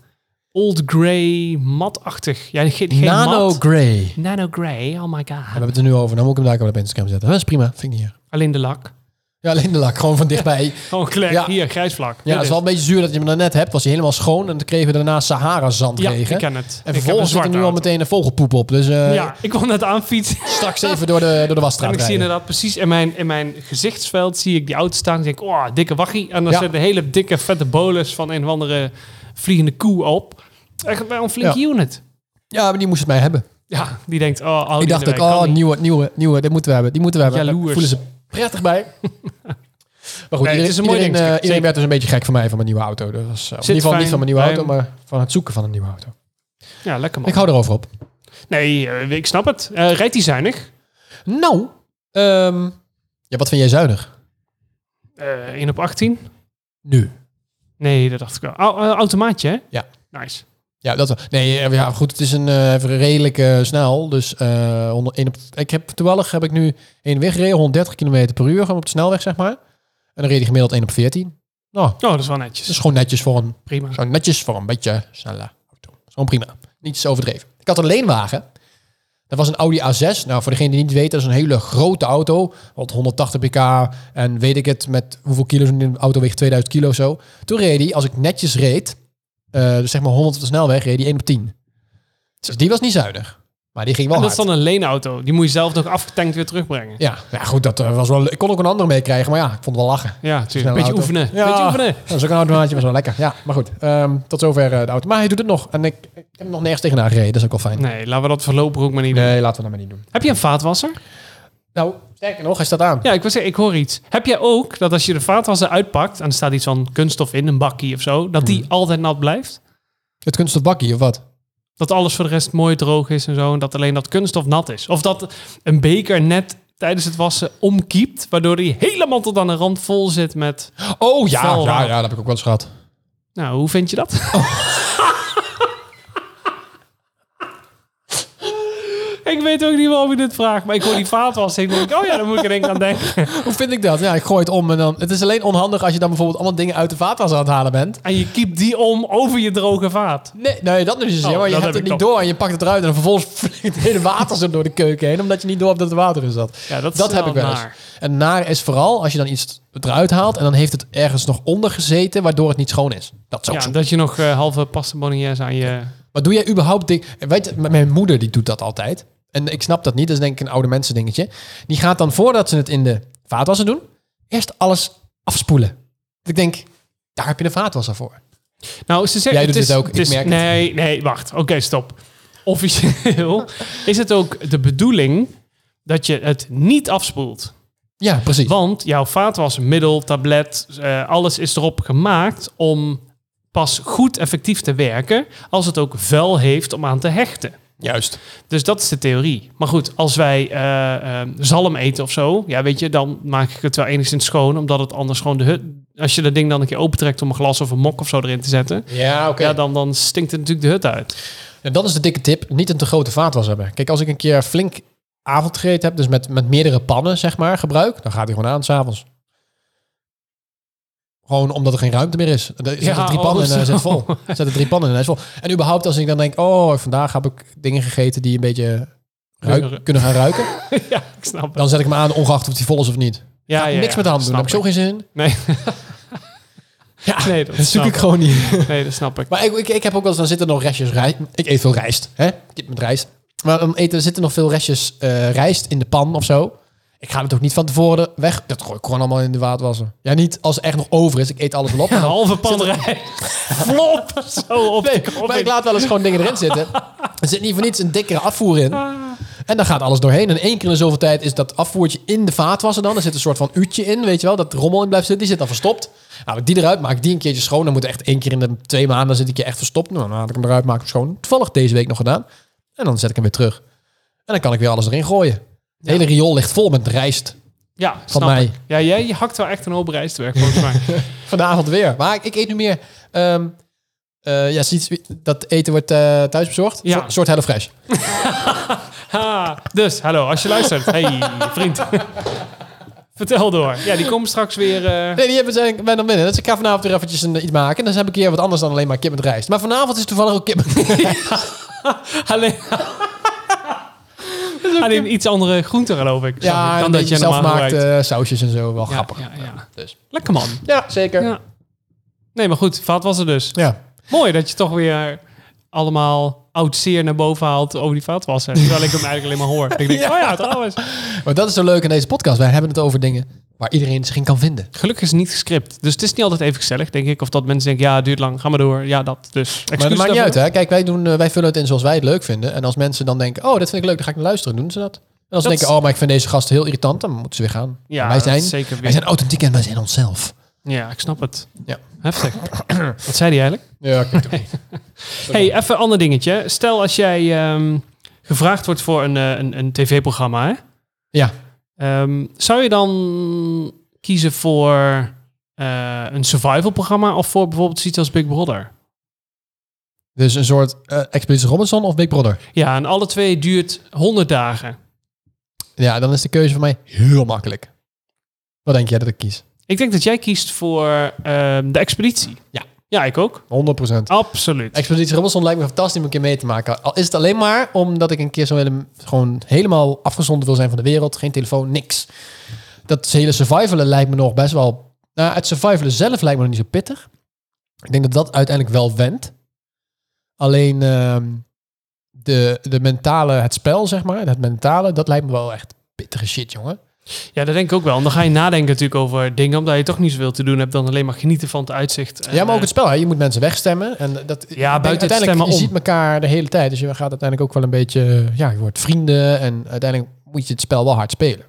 Old grey, matachtig. Ja, geen, geen
Nano
mat.
Grey.
Nano grey, oh my
We
god.
hebben het er nu over. Dan moet ik hem daar ook wel op Instagram zetten. Dat is prima. Vind ik niet erg.
Alleen de lak.
Ja, alleen de lak. Gewoon van
(laughs)
dichtbij.
Gewoon klek,
Ja.
hier, grijs vlak.
Ja, het is wel een beetje zuur dat je hem daarnet hebt. Was hij helemaal schoon. En toen kregen we daarna Sahara-zand
ja,
regen.
ik ken het.
En vervolgens zit er nu al meteen een vogelpoep op. Dus eh,
Ja, ik kwam net aanfietsen.
straks even door de, door de wasstraat
En ik zie
rijden.
inderdaad precies in mijn, in mijn gezichtsveld zie ik die auto staan. En denk ik, oh, dikke wachie. En dan
Ja.
zit een hele dikke vette bolus van een of andere vliegende koe op. Echt wel een flinke unit.
Ja, maar die moest het mij hebben.
Ja, die denkt, oh, Audi
ik dacht
erbij,
ook,
kan
oh,
niet.
nieuwe, nieuwe, nieuwe. Dit moeten we hebben. Die moeten we hebben.
Jaloers.
Daar voelen ze prettig bij.
(laughs)
maar goed, iedereen,
het is een mooi
iedereen,
ding,
eh,
zeker.
iedereen werd dus een beetje gek van mij van mijn nieuwe auto. Dat was, eh, in ieder
Zit
geval niet
fijn
van mijn nieuwe
bij
auto, maar van het zoeken van een nieuwe auto.
Ja, lekker man.
Ik hou erover op.
Nee, eh, ik snap het. Eh, rijdt hij zuinig?
Nou, ehm, ja, wat vind jij zuinig?
Eh 1 op 18?
Nu.
Nee, dat dacht ik wel. Au- eh, automaatje, hè?
Ja.
Nice.
Ja, dat wel. Nee, eh, ja, goed, het is een eh, even redelijk eh, snel. Dus eh, 100 één op, ik heb toevallig heb ik nu één weg gereden, 130 km per uur gewoon op de snelweg, zeg maar. En dan reed hij gemiddeld 1 op 14. Nou,
Oh, dat is wel
dat
netjes.
is gewoon netjes voor een,
Prima.
zo netjes voor een beetje snelle auto. Dat is Gewoon prima. Niets overdreven. Ik had een leenwagen. Dat was een Audi A6. Nou, voor degene die niet weet, dat is een hele grote auto. Wat 180 pk en weet ik het, met hoeveel kilo's een auto weegt, 2000 kilo of zo. Toen reed hij, als ik netjes reed, eh, dus zeg maar 100 op de snelweg, reed hij 1 op 10. Dus die was niet zuinig. Maar die ging wel
En dat
hard.
is dan een leenauto. Die moet je zelf nog afgetankt weer terugbrengen.
Ja, ja, goed, dat eh, was wel... le- Ik kon ook een andere meekrijgen, maar ja, ik vond het wel lachen.
Ja,
Snelle
natuurlijk. Beetje
auto.
oefenen.
Ja.
Beetje oefenen.
Dat is ook een automaatje, maar zo lekker. Ja, maar goed. Ehm, tot zover eh, de auto. Maar hij doet het nog. En ik, ik heb hem nog nergens tegenaan gereden. Dat is ook wel fijn.
Nee, laten we dat voorlopig ook maar niet doen.
Nee, laten we dat maar niet doen.
Heb je een vaatwasser?
Nou, sterker nog, hij staat aan.
Ja, ik wil zeggen, ik hoor iets. Heb jij ook dat als je de vaatwasser uitpakt en er staat iets van kunststof in, een bakkie of zo, dat die altijd nat blijft?
Het kunststof bakkie, of wat?
Dat alles voor de rest mooi droog is en zo, en dat alleen dat kunststof nat is. Of dat een beker net tijdens het wassen omkiept, waardoor die helemaal tot aan de rand vol zit met...
Oh ja,
Vuil
ja,
raam.
ja, dat heb ik ook wel eens gehad.
Nou, hoe vind je dat? ik weet ook niet waarom je dit vraagt, maar ik hoor die vaatwasser en ik denk, oh ja, daar moet ik er denk aan denken.
Hoe vind ik dat? Ja, ik gooi het om en dan... Het is alleen onhandig als je dan bijvoorbeeld allemaal dingen uit de vaatwas aan het halen bent.
En je kiept die om over je droge vaat.
Nee, nee dat is dus
Oh,
ja, maar je
dat
hebt
heb
het
ik
niet
dan.
door en je pakt het eruit en dan vervolgens (laughs) vliegt het hele water zo door de keuken heen, omdat je niet door hebt dat er water in zat.
Ja, dat is
heb
wel
ik wel eens.
naar.
En naar is vooral als je dan iets eruit haalt en dan heeft het ergens nog onder gezeten, waardoor het niet schoon is. Dat is ook
Ja,
zo.
dat je nog eh, halve pasta bolognese aan je...
Maar doe jij überhaupt ding? Weet je, m- mijn moeder die doet dat altijd. En ik snap dat niet. Dat is denk ik een oude mensen dingetje. Die gaat dan voordat ze het in de vaatwasser doen, eerst alles afspoelen. Dat ik denk, daar heb je de vaatwasser voor.
Nou, ze zeggen...
Jij doet
het is,
dit ook, ik
is-
merk het.
nee, nee, wacht. Oké, stop.
(laughs)
Officieel is het ook de bedoeling dat je het niet afspoelt.
Ja, precies.
Want jouw vaatwasmiddel, tablet, eh, alles is erop gemaakt om pas goed effectief te werken als het ook vuil heeft om aan te hechten.
Juist.
Dus dat is de theorie. Maar goed, als wij eh, eh, zalm eten of zo, ja, weet je, dan maak ik het wel enigszins schoon, omdat het anders gewoon de hut. Als je dat ding dan een keer opentrekt om een glas of een mok of zo erin te zetten,
Ja, oké.
ja, dan, dan stinkt het natuurlijk de hut uit. (laughs)
En dat is de dikke tip. Niet een te grote vaatwas hebben. Kijk, als ik een keer flink avondgegeten heb, dus met, met meerdere pannen, zeg maar, gebruik, dan gaat hij gewoon aan s'avonds. Gewoon omdat er geen ruimte meer is. Er zitten
Ja,
drie pannen
oh,
en hij
zo.
zit vol. Er zitten drie pannen en hij is vol. En überhaupt als ik dan denk, oh, vandaag heb ik dingen gegeten die een beetje ruik,
Ruiken.
kunnen gaan ruiken,
ja, ik snap het.
dan zet ik hem aan, ongeacht of die vol is of niet.
Ja,
Ga ik
ja,
niks
ja,
met de hand doen,
snap
daar heb ik zo geen zin in.
Nee, (laughs)
Ja,
nee, dat
(laughs) dat zoek
snap
ik gewoon niet.
nee, dat snap ik.
Maar ik, ik, ik heb ook wel eens, dan zitten nog restjes rijst. Ik eet veel rijst, hè? Ik eet met rijst. Maar dan eten, zitten nog veel restjes eh, rijst in de pan of zo. Ik ga het ook niet van tevoren weg. Dat gooi ik gewoon allemaal in de waterwasser. Ja, niet als er echt nog over is. Ik eet alles wel op. (laughs)
Een
maar dan- (laughs)
halve panderij. Flop. Zo op.
Nee,
de kop
maar
in.
ik laat wel eens gewoon dingen erin zitten. Er zit niet voor niets een dikkere afvoer in. En dan gaat alles doorheen. En één keer in de zoveel tijd is dat afvoertje in de vaatwasser dan. Er zit een soort van uurtje in, weet je wel. Dat rommel in blijft zitten. Die zit dan verstopt. Nou, ik die eruit, maak ik die een keertje schoon. Dan moet er echt één keer in de twee maanden zit ik je echt verstopt. Nou, dan haal ik hem eruit, maak ik hem schoon. Toevallig deze week nog gedaan. En dan zet ik hem weer terug. En dan kan ik weer alles erin gooien. Het hele riool ligt vol met rijst.
Ja,
Van
snap
mij.
ik. Ja, jij je hakt wel echt een hoop rijstwerk
(laughs)
volgens mij.
Vanavond weer. Maar ik, ik eet nu meer... ehm, eh, ja, zoiets wie- dat eten wordt eh thuis bezorgd.
Ja.
Een soort Hello Fresh.
Ha, dus, hallo, als je luistert. Hey, vriend. (laughs) Vertel door. Ja, die komen straks weer... eh,
Nee, die hebben zijn ben dan binnen. Dus ik ga vanavond weer eventjes een, iets maken. Dan heb ik hier wat anders dan alleen maar kip met rijst. Maar vanavond is het toevallig ook kip
(laughs)
met (laughs)
Alleen... Alleen iets andere groente, geloof ik. snap ik,
Ja,
dan
en
dat je
zelf
normaal
maakt
gebruikt.
eh, sausjes en zo. Wel
Ja,
grappig.
ja, ja.
Dus.
Lekker man.
Ja, zeker. Ja.
Ja. Nee, maar goed, vaat was er dus. Mooi dat je toch weer allemaal oud zeer naar boven haalt over die vaatwasser. Terwijl
(laughs)
ik hem eigenlijk alleen maar hoor. Ik denk, oh ja, trouwens.
Maar dat is zo leuk in deze podcast. Wij hebben het over dingen waar iedereen zich in kan vinden.
Gelukkig is het niet gescript. Dus het is niet altijd even gezellig, denk ik. Of dat mensen denken, ja, het duurt lang, ga maar door. Ja, dat. Dus
Maar dat
excuus
maakt niet uit,
daarvoor.
hè. Kijk, wij, doen, eh, wij vullen het in zoals wij het leuk vinden. En als mensen dan denken, oh, dat vind ik leuk, dan ga ik naar luisteren. Doen ze dat? En als ze
Dat
denken, oh, maar ik vind deze gasten heel irritant, dan moeten ze weer gaan.
Ja,
Maar wij
dat
zijn,
is zeker weer.
wij zijn authentiek en wij zijn onszelf.
Ja, ik snap het.
Ja.
Heftig. Wat zei hij eigenlijk?
Ja, ik weet het ook niet.
hey, even een ander dingetje. Stel als jij ehm, gevraagd wordt voor een, eh, een, een tv-programma, hè?
Ja.
Ehm, zou je dan kiezen voor eh, een survival-programma of voor bijvoorbeeld zoiets als Big Brother?
Dus een soort eh, Expeditie Robinson of Big Brother?
Ja, en alle twee duurt 100 dagen.
Ja, dan is de keuze voor mij heel makkelijk. Wat denk jij dat ik kies? 100%.
Ik denk dat jij kiest voor ehm, de expeditie.
Ja.
Ja, ik ook. Absoluut.
Expeditie Robinson lijkt me fantastisch om een keer mee te maken. Al is het alleen maar omdat ik een keer zo helemaal- gewoon helemaal afgezonderd wil zijn van de wereld. Geen telefoon, niks. Dat hele survivalen lijkt me nog best wel... Nou, het survivalen zelf lijkt me nog niet zo pittig. Ik denk dat dat uiteindelijk wel wendt. Alleen ehm, de, de mentale, het spel zeg maar, het mentale, dat lijkt me wel echt pittige shit, jongen.
Ja, dat denk ik ook wel. En dan ga je nadenken natuurlijk over dingen omdat je toch niet zoveel te doen hebt dan alleen maar genieten van het uitzicht. En,
Ja, maar ook
eh,
het spel. Hè? Je moet mensen wegstemmen. En dat, ik denk
buiten het
uiteindelijk,
stemmen
je
om.
ziet elkaar de hele tijd. Dus je gaat uiteindelijk ook wel een beetje... Ja, je wordt vrienden. En uiteindelijk moet je het spel wel hard spelen.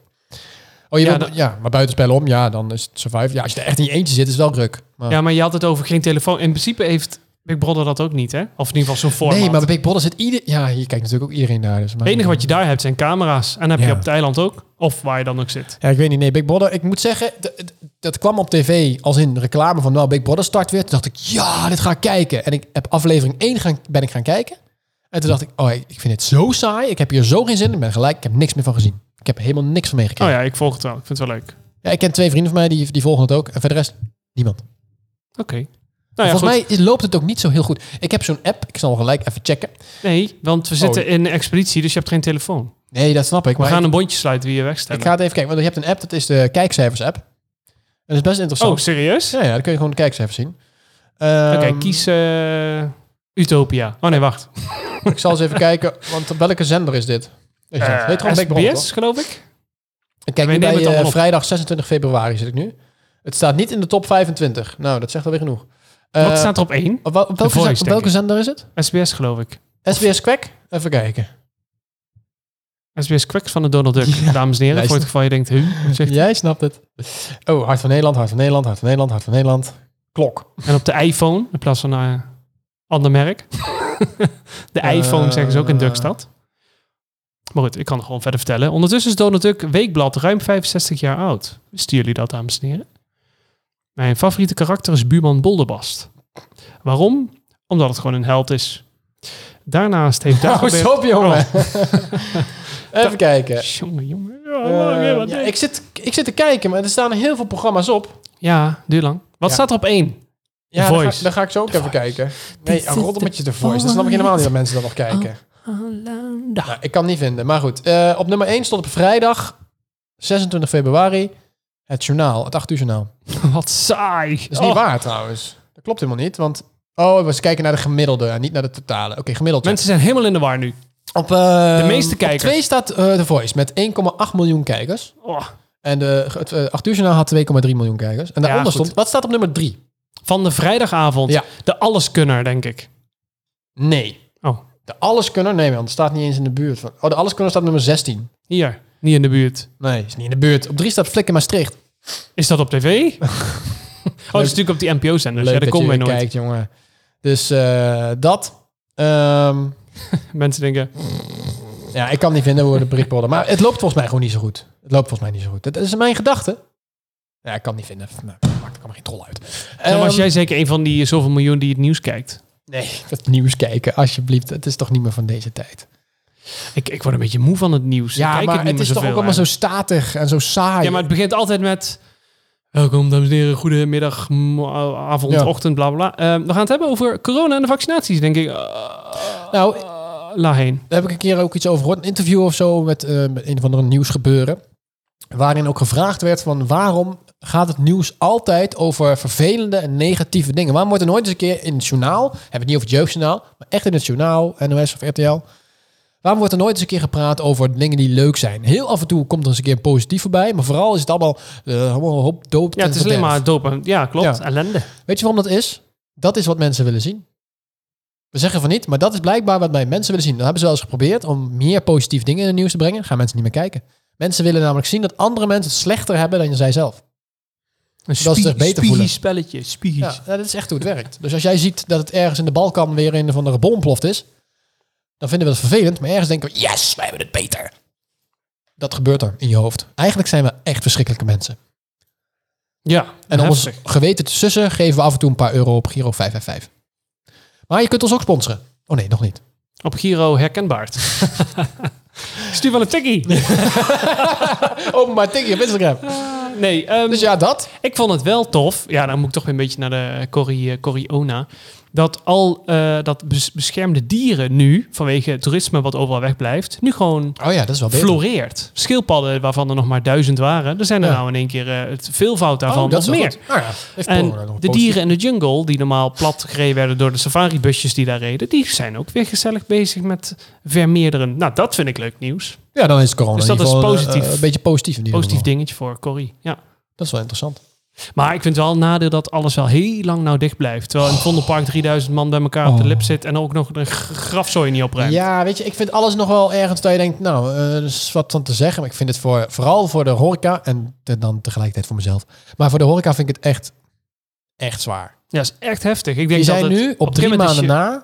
Oh, je
Ja,
wilt-
dan-
ja, maar buiten spel om, ja, dan is het survive. Ja, als je er echt in je eentje zit, is het wel ruk. Maar,
Ja, maar je had het over geen telefoon. In principe heeft Big Brother dat ook niet, hè? Of in ieder geval zo'n format.
nee, maar bij Big Brother zit ieder... Ja, hier kijkt natuurlijk ook iedereen naar. Dus, maar,
Het enige wat je daar hebt zijn camera's. En heb
Ja.
je op het eiland ook. Of waar je dan ook zit.
Ja, ik weet niet. Nee, Big Brother. Ik moet zeggen, d- d- dat kwam op tv als in reclame van... Nou, Big Brother start weer. Toen dacht ik, ja, dit ga ik kijken. En ik heb aflevering 1 gaan, ben ik gaan kijken. En toen dacht ik, oh, ik ik vind dit zo saai. Ik heb hier zo geen zin in. Ik ben gelijk, ik heb niks meer van gezien. Ik heb er helemaal niks van meegekregen.
Oh
ja.
ja, ik volg het wel. Ik vind het wel leuk.
ik ken twee vrienden van mij, die, die volgen het ook. En verder rest, niemand.
Oké. Nou Oh ja,
Volgens
goed.
mij is- loopt het ook niet zo heel goed. Ik heb zo'n app, ik zal hem gelijk even checken.
Nee, want we zitten in een expeditie, dus je hebt geen telefoon.
Nee, dat snap ik.
We
Oh. Maar
gaan
ik,
een bondje sluiten wie je
ik
wegstemt.
ga het even kijken. Want je hebt een app, dat is de kijkcijfers app. En dat is best
Oh,
interessant.
serieus?
ja, ja, dan kun je gewoon de kijkcijfers zien.
Oké,
Ehm,
kies eh, Utopia. Oh nee, wacht.
Ik zal eens
(laughs)
even kijken, want op welke zender is dit? Ik zeg,
Eh,
weet gewoon Big Brother, toch?
SBS, geloof ik.
Ik kijk
Wij
nu
nemen
bij
het allemaal
eh,
op.
vrijdag 26 februari zit ik nu. Het staat niet in de top 25. Nou, dat zegt alweer genoeg. Eh,
Wat staat er op één?
op, wel- op welke,
Voice,
zender, op
denk
welke
ik.
zender is het?
SBS, geloof ik.
SBS Kwek? Even kijken.
SBS Quacks van de Donald
(laughs)
Duck, dames en heren.
Luister.
Voor het geval je denkt, huh, wat zegt
Jij snapt het. Oh, Hart van Nederland, Hart van Nederland, Hart van Nederland, Hart van Nederland. Klok.
En op de iPhone, in plaats van een ander merk. (laughs) de
Eh,
iPhone zeggen ze ook in Dukstad. Maar goed, ik kan het gewoon verder vertellen. Ondertussen is Donald Duck Weekblad ruim 65 jaar oud. Wisten jullie dat, dames en heren? Mijn favoriete karakter is buurman Bolderbast. Waarom? Omdat het gewoon een held is.
(laughs)
Daarnaast heeft daar
Hou eens op, jongen. (laughs) even kijken.
Jongen, jongen. Ja,
Eh,
wat
ja,
denk-
ik, zit, ik zit te kijken, maar er staan heel veel programma's op.
ja, duur lang. Wat
Ja.
staat er op één? (laughs)
Ja,
The
daar ga,
Voice.
daar ga ik zo ook even kijken. Nee, oh,
This is
een roddeltje de voice. Dat snap ik helemaal niet dat mensen dat nog kijken. Nou, ik kan het niet vinden, maar goed. Eh, op nummer 1 stond op vrijdag, 26 februari, het journaal, het 8 uur journaal.
Wat saai. Oh,
Dat is niet waar trouwens. Dat klopt helemaal niet, want... Oh, we kijken naar de gemiddelde en niet naar de totale. Oké, gemiddeld.
Mensen zijn helemaal in de war nu.
Op, eh,
De meeste
Op
kijkers.
twee staat eh, The Voice met 1,8 miljoen kijkers.
Oh,
En de, het eh, 8 uur journaal had 2,3 miljoen kijkers. En daaronder
goed.
stond... Wat staat op nummer 3?
van de vrijdagavond.
Ja.
De alleskunner, denk ik.
Nee.
Oh,
De Alleskunner? Nee, want het staat niet eens in de buurt. Van. Oh, de Alleskunner staat op nummer 16.
hier. Niet in de buurt.
Nee, is niet in de buurt. Op 3 staat Flikker Maastricht.
Dus Is dat op tv? (laughs) oh, het is natuurlijk op die NPO-zenders.
Leuk
Ja, daar
dat
komen
je
we nooit.
kijkt, jongen. Dus eh, dat. Ehm,
Mensen denken,
ja, ik kan niet vinden hoe de Britpolder. Maar het loopt volgens mij gewoon niet zo goed. Het loopt volgens mij niet zo goed. Dat is mijn gedachte. Ja, ik kan het niet vinden. Nou, maakt er kan geen troll uit.
nou was
Ehm,
jij zeker een van die zoveel miljoen die het nieuws kijkt?
Nee, dat nieuws kijken, alsjeblieft. Het is toch niet meer van deze tijd.
Ik, ik word een beetje moe van het nieuws. Ik
Ja,
kijk
maar
niet
het
meer
is toch ook
zoveel
allemaal zo
eigenlijk.
statig en zo saai.
Ja, maar het begint altijd met... Welkom, dames en heren. Goedemiddag, m- avond,
Ja.
ochtend, bla bla. bla. Ehm, we gaan het hebben over corona en de vaccinaties, denk ik.
Nou,
Eh, la heen.
Daar heb ik een keer ook iets over gehoord. Een interview of zo met, eh, met een of andere nieuwsgebeuren. Waarin ook gevraagd werd van waarom gaat het nieuws altijd over vervelende en negatieve dingen? Waarom wordt er nooit eens een keer in het journaal, heb ik het niet over het jeugdjournaal, maar echt in het journaal, NOS of RTL. Waarom wordt er nooit eens een keer gepraat over dingen die leuk zijn? Heel af en toe komt er eens een keer positief voorbij, maar vooral is het allemaal eh, allemaal hoop, doop
Ja,
en
het is alleen
verderf.
maar dopen. Ja, klopt.
Ja.
Ellende.
Weet je waarom dat is? Dat is wat mensen willen zien. We zeggen van niet, maar dat is blijkbaar wat bij mensen willen zien. Dan hebben ze wel eens geprobeerd om meer positieve dingen in het nieuws te brengen. Gaan mensen niet meer kijken. Mensen willen namelijk zien dat andere mensen het slechter hebben dan zij zelf.
Een
ze zich dus beter voelen.
spelletje. Spiegies.
Ja, nou, dat is echt hoe het werkt. Dus als jij ziet dat het ergens in de Balkan weer een van de bom ontploft is, dan vinden we dat vervelend. Maar ergens denken we, yes, wij hebben het beter. Dat gebeurt er in je hoofd. Eigenlijk zijn we echt verschrikkelijke mensen.
Ja,
En om ons
heftig.
geweten te sussen, geven we af en toe een paar euro op Giro 555. Maar je kunt ons ook sponsoren. Oh nee, nog niet.
Op Giro
(laughs)
herkenbaar. Stuur wel een tikkie. Oh,
Openbaar tikje op Instagram.
Nee,
(laughs)
ehm,
Dus ja, dat.
ik vond het wel tof. Ja, dan moet ik toch weer een beetje naar de Corrie, eh, Corrie Ona. Dat al eh, dat bes- beschermde dieren nu, vanwege het toerisme wat overal wegblijft, nu gewoon
Oh ja, dat is wel beter.
floreert. Schildpadden, waarvan er nog maar duizend waren, er zijn er
Ja.
nou in één keer eh, het veelvoud daarvan
Oh, dat is
nog
wel
meer.
goed. Nou ja, heeft
En
corona nog
de
positief.
dieren in de jungle, die normaal plat gereden werden door de safaribusjes die daar reden, die zijn ook weer gezellig bezig met vermeerderen. Nou, dat vind ik leuk nieuws.
Ja, dan is corona
Dus
in
dat
ieder
is
geval, eh,
positief.
een beetje positief in ieder
Positief
geval.
dingetje voor Corrie. Ja.
Dat is wel interessant.
Maar ik vind wel een nadeel dat alles wel heel lang nou dicht blijft. Terwijl in het Vondelpark 3000 man bij elkaar op de
Oh.
lip zit en ook nog de g- grafzooi niet opruimt.
Ja, weet je, ik vind alles nog wel ergens dat je denkt, nou, eh, er is wat van te zeggen. Maar ik vind het voor, vooral voor de horeca en te- dan tegelijkertijd voor mezelf. Maar voor de horeca vind ik het echt, echt zwaar.
Ja, dat is echt heftig. Ik denk
Die zijn
dat het-
nu op
een
drie
gegeven
maanden
moment
na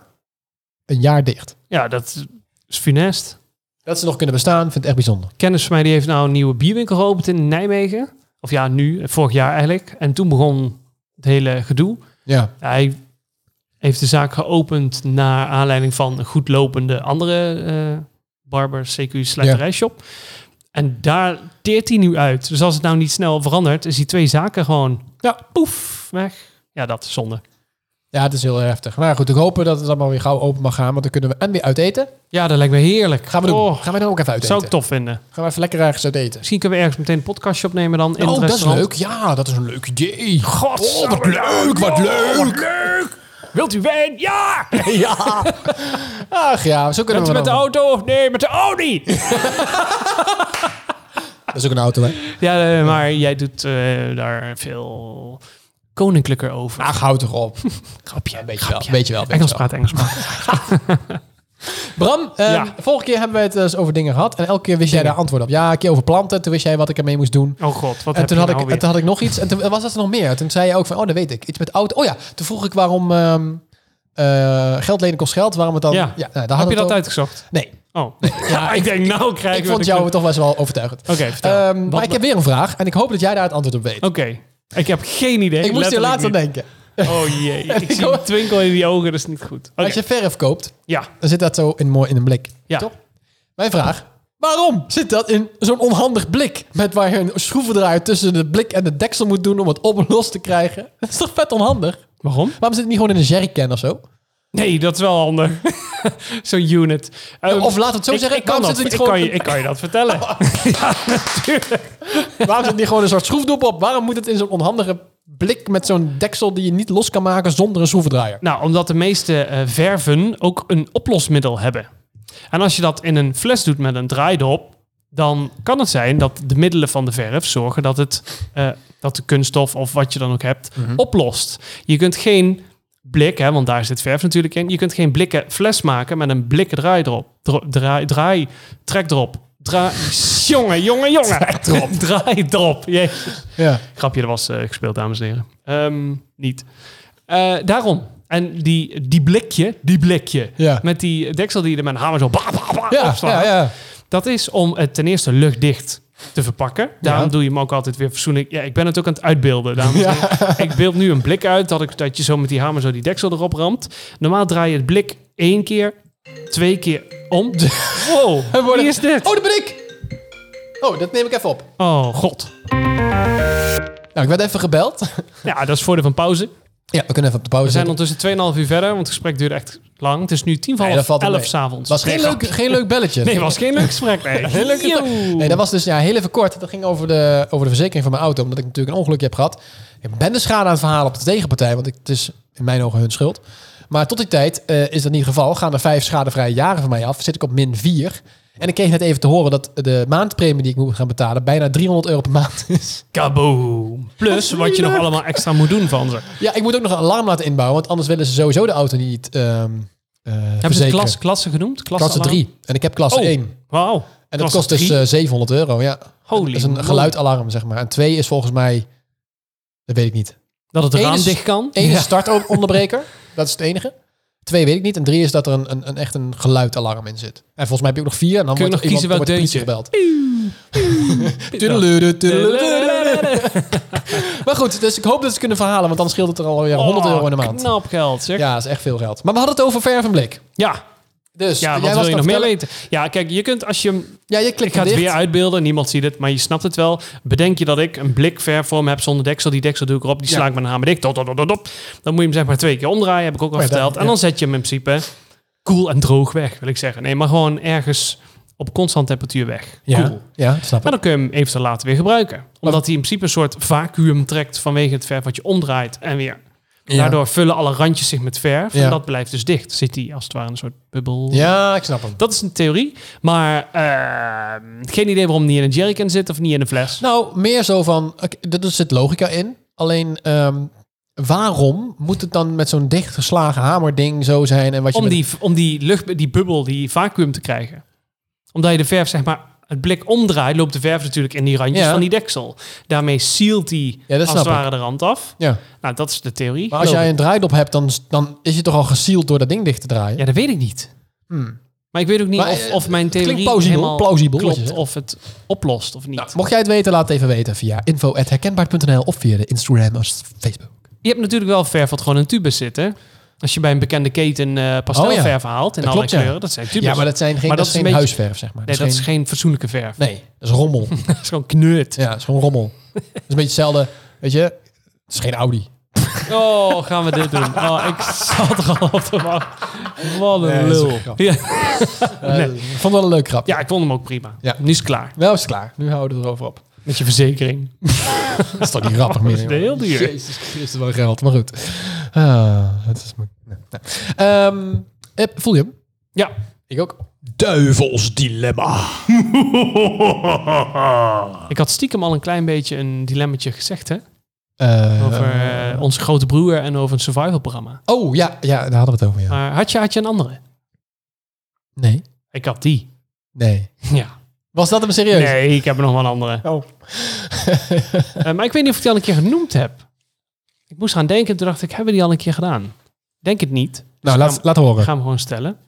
een jaar dicht.
is je- Ja, dat is funest.
Dat ze nog kunnen bestaan, vind ik echt bijzonder.
kennis van mij die heeft nou een nieuwe bierwinkel geopend in Nijmegen. Of ja, nu, vorig jaar eigenlijk. En toen begon het hele gedoe.
Ja.
Hij heeft de zaak geopend naar aanleiding van een goed lopende andere eh barber, CQ, slijterijshop. En daar teert hij nu uit. Dus als het nou niet snel verandert, is die twee zaken gewoon ja. poef, weg. Ja, dat is zonde.
Ja, het is heel heftig. Maar goed, ik hoop dat het allemaal weer gauw open mag gaan. Want dan kunnen we en weer uit eten.
Ja, dat lijkt me heerlijk.
Gaan we doen.
Oh,
gaan we dan ook even uit eten.
dat zou ik tof vinden.
Gaan we even lekker ergens uit eten.
Misschien kunnen we ergens meteen een podcastje opnemen dan in
oh,
het
dat is
restaurant.
leuk. Ja, dat is een leuk idee. God, oh, wat
Godsamme,
leuk, wat
oh,
leuk.
Wilt u wijn? Ja!
Ja. Ach ja, zo kunnen
Bent
we
u met de
dan-
auto of nee, met de Audi?
Dat is ook een auto, (laughs) hè.
ja, eh, maar jij doet eh, daar veel koninklijker over.
Ach, hou Ah, toch op.
grapje.
Een beetje wel,
grapje.
een beetje wel. een beetje
Engels
wel.
praten, Engels praten.
Bram, eh,
Ja.
vorige keer hebben we het eens over dingen gehad. En elke keer wist jij
Dingen.
daar antwoord op. Ja, een keer over planten. Toen wist jij wat ik ermee moest doen.
Oh god, wat
En
heb
toen,
je
had
nou
ik,
weer?
en toen had ik nog iets. En toen was dat er nog meer. Toen zei je ook van, oh, dat weet ik. Iets met auto. Oh ja, toen vroeg ik waarom ehm, eh, geld lenen kost geld. Waarom het dan...
Ja.
nou, daar
heb je
hadden we
dat
het over.
uitgezocht?
Nee. (laughs)
Oh. Ja, ik denk nou krijg
Ik vond jou toch best wel overtuigend.
Oké, vertel.
Ehm,
Wat-
maar ik heb weer een vraag. En ik hoop dat jij daar het antwoord op weet.
Oké, ik heb geen idee.
ik moest hier
letterlijk
later aan
niet.
denken.
Oh jee,
(laughs)
ik zie een twinkel in die ogen, dat is niet goed. Oké,
Als je verf koopt,
Ja,
dan zit dat zo in, mooi in een blik.
Ja.
Toch? Mijn vraag... Waarom zit dat in zo'n onhandig blik? Met waar je een schroevendraaier tussen de blik en de deksel moet doen om het op en los te krijgen. (laughs) Dat is toch vet onhandig?
waarom?
Waarom zit het niet gewoon in een jerrycan of zo?
Nee, dat is wel handig. (laughs) Zo'n unit. Ehm,
of laten we het zo
ik-
zeggen,
ik kan,
waarom
dat,
zit er
ik,
niet
kan
gewoon-
je, ik kan je dat
(laughs)
vertellen. ja, natuurlijk.
Waarom zit niet gewoon een soort schroefdop op? Waarom moet het in zo'n onhandige blik met zo'n deksel die je niet los kan maken zonder een schroevendraaier?
Nou, omdat de meeste eh, verven ook een oplosmiddel hebben. En als je dat in een fles doet met een draaidop, dan kan het zijn dat de middelen van de verf zorgen dat, het, eh, dat de kunststof of wat je dan ook hebt oplost. Je kunt geen blik, hè, want daar zit verf natuurlijk in, je kunt geen blikken fles maken met een blikken draaidrop. Dro- draai, draai, trekdrop. Draai, (laughs) jongen, jongen, jongen. Trekdrop. (laughs) draaidrop. Jezus.
Ja.
Grapje, dat was eh, gespeeld, dames en heren. Ehm, niet. Eh, daarom. En die, die blikje, die blikje,
Ja.
met die deksel die je er met een hamer zo bah, bah, bah,
Ja,
opslaat,
ja, ja.
dat is om het ten eerste luchtdicht te verpakken. Daarom
Ja.
doe je hem ook altijd weer verzoening. Ja, ik ben het ook aan het uitbeelden, dames en heren. Ik beeld nu een blik uit dat, ik, dat je zo met die hamer zo die deksel erop ramt. Normaal draai je het blik één keer, twee keer
(laughs)
om. Wow,
We worden-
wie is dit?
Oh, dat ben ik! Oh, dat neem ik even op.
Oh, god.
Nou, ik werd even gebeld.
Ja, dat is voordeel van pauze.
Ja, we kunnen even op de pauze
We zijn
zitten.
ondertussen 2,5 uur verder, want het gesprek duurde echt lang. Het is nu tien van
Nee, dat
half
valt wel
elf
mee.
s'avonds.
was geen leuk, geen leuk belletje.
Nee, was geen leuk gesprek. Nee,
Heel leuk gesprek. Nee, dat was dus ja, heel even kort. Dat ging over de, over de verzekering van mijn auto. Omdat ik natuurlijk een ongelukje heb gehad. Ik ben de schade aan het verhalen op de tegenpartij. Want ik, het is in mijn ogen hun schuld. Maar tot die tijd eh, is dat niet het geval. Gaan er vijf schadevrije jaren van mij af. Zit ik op min 4. En ik kreeg net even te horen dat de maandpremie die ik moet gaan betalen... bijna 300 euro per maand is.
Kaboom. Plus wat je nog allemaal extra moet doen van ze. Hebben
Ja, ik moet ook nog een alarm laten inbouwen. Want anders willen ze sowieso de auto niet ehm eh
ze het
verzekeren.
klas, Oh, klasse genoemd?
klasse 3. En ik heb klasse 1.
Wauw.
En dat kost dus eh, 700 euro, ja.
Holy
dat is een
moly.
geluidalarm, zeg maar. En twee is volgens mij... Dat weet ik niet.
dat het
één
raam
is-
dicht kan.
Eén is startonderbreker. (laughs) dat is het enige. Twee weet ik niet. En drie is dat er een, een, een echt een geluidalarm in zit. En volgens mij heb je ook nog vier. En dan
Kun je
wordt er
nog
iemand, dan wordt
kiezen
de politie
(laughs)
gebeld. Tudeludu, tudeludu. Maar goed, dus ik hoop dat ze het kunnen verhalen. Want dan scheelt het er alweer 100 euro in de maand.
Oh, Knap geld, zeg. Ja,
Ja, dat is echt veel geld. Maar we hadden het over verf en blik.
ja,
Dus jij
wat
was
wil je
het
nog
aan het
meer
vertellen.
weten? Ja, kijk, je kunt als je hem
Ja, je
Ik
klikt
ga het
dicht.
weer uitbeelden, niemand ziet het, maar je snapt het wel. Bedenk je dat ik een blik ver voor me heb zonder deksel. Die deksel doe ik erop, die sla
Ja.
ik met een hamer dicht. Dop, dop, dop, dop, dop. Dan moet je hem zeg maar twee keer omdraaien, heb ik ook al
Oh ja, dat-
verteld. en
ja.
dan zet je hem in principe koel en droog weg, wil ik zeggen. Nee, maar gewoon ergens op constant temperatuur weg.
Ja,
Koel.
ja, snap
Maar
ik.
dan kun je hem eventueel later weer gebruiken. Omdat hij in principe een soort vacuüm trekt vanwege het verf wat je omdraait en weer.
Ja.
Daardoor vullen alle randjes zich met verf
Ja.
en dat blijft dus dicht. Zit hij als het ware in een soort bubbel.
Ja, ik snap hem.
Dat is een theorie. Maar eh, geen idee waarom die in een jerrycan zit of niet in een fles.
Nou, meer zo van, oké, er er zit logica in. Alleen, ehm, waarom moet het dan met zo'n dichtgeslagen hamerding zo zijn? En wat je
om
met-
die, om die, lucht, die bubbel, die vacuüm te krijgen. Omdat je de verf, zeg maar, het blik omdraait, loopt de verf natuurlijk in die randjes
Ja.
van die deksel. Daarmee sealt die
Ja, dat
als het
snap
ware de rand af.
Ja.
Nou, dat is de theorie.
Maar als
geloof
jij
ik.
een draaidop hebt, dan, dan is je toch al gesield door dat ding dicht te draaien?
Ja, dat weet ik niet.
Hmm.
Maar ik weet ook niet
Maar,
of,
eh,
of mijn
het klinkt
theorie
plausibel,
helemaal
plausibel, wat je
klopt.
zegt.
Of het oplost of niet.
Nou, mocht jij het weten, laat het even weten via info.herkenbaar.nl of via de Instagram of Facebook.
Je hebt natuurlijk wel verf wat gewoon in tubes zit, hè? Als je bij een bekende keten eh pastelverf haalt in
Dat
alle
klopt, Oh ja.
kleuren, dat zijn tubes.
Ja, maar dat, zijn geen,
Maar
dat
dat
is geen
is een beetje-
huisverf, zeg maar.
Nee, dat is
geen-
geen fatsoenlijke verf.
Nee, (laughs) dat is
(laughs)
rommel.
Dat is gewoon kneurt.
ja, dat is gewoon rommel. Dat is een beetje hetzelfde, weet je. Het is geen Audi.
Oh, gaan we dit doen? Oh, ik zat er al op te wachten. Wat een
Nee, dat is
lul.
een grap.
Ja.
Eh, Ik vond het wel een leuk grap.
ja, ik vond hem ook prima.
Ja.
Nu is het klaar.
Wel is het klaar. Nu houden we het erover op.
Met je verzekering.
Dat is toch niet grappig (laughs) meer.
Dat is
jongen.
heel duur.
Jezus Christus, wel geld. Maar goed. Ah, het is moeilijk. Nee, nee. Ehm, eh, voel je hem?
Ja.
Ik ook. Duivels dilemma.
Ik had stiekem al een klein beetje een dilemmetje gezegd, hè? Over eh, onze grote broer en over een survival programma.
oh, ja, ja, daar hadden we het over, ja.
Maar had je, had je een andere?
Nee.
Ik had die.
Nee.
Ja.
Was dat hem serieus?
Nee, ik heb er nog wel een andere.
Oh.
(laughs) Eh, maar ik weet niet of ik die al een keer genoemd heb. Ik moest gaan denken, toen dacht ik, hebben we die al een keer gedaan? Denk het niet.
nou, laat, laat horen.
Gaan we gewoon stellen.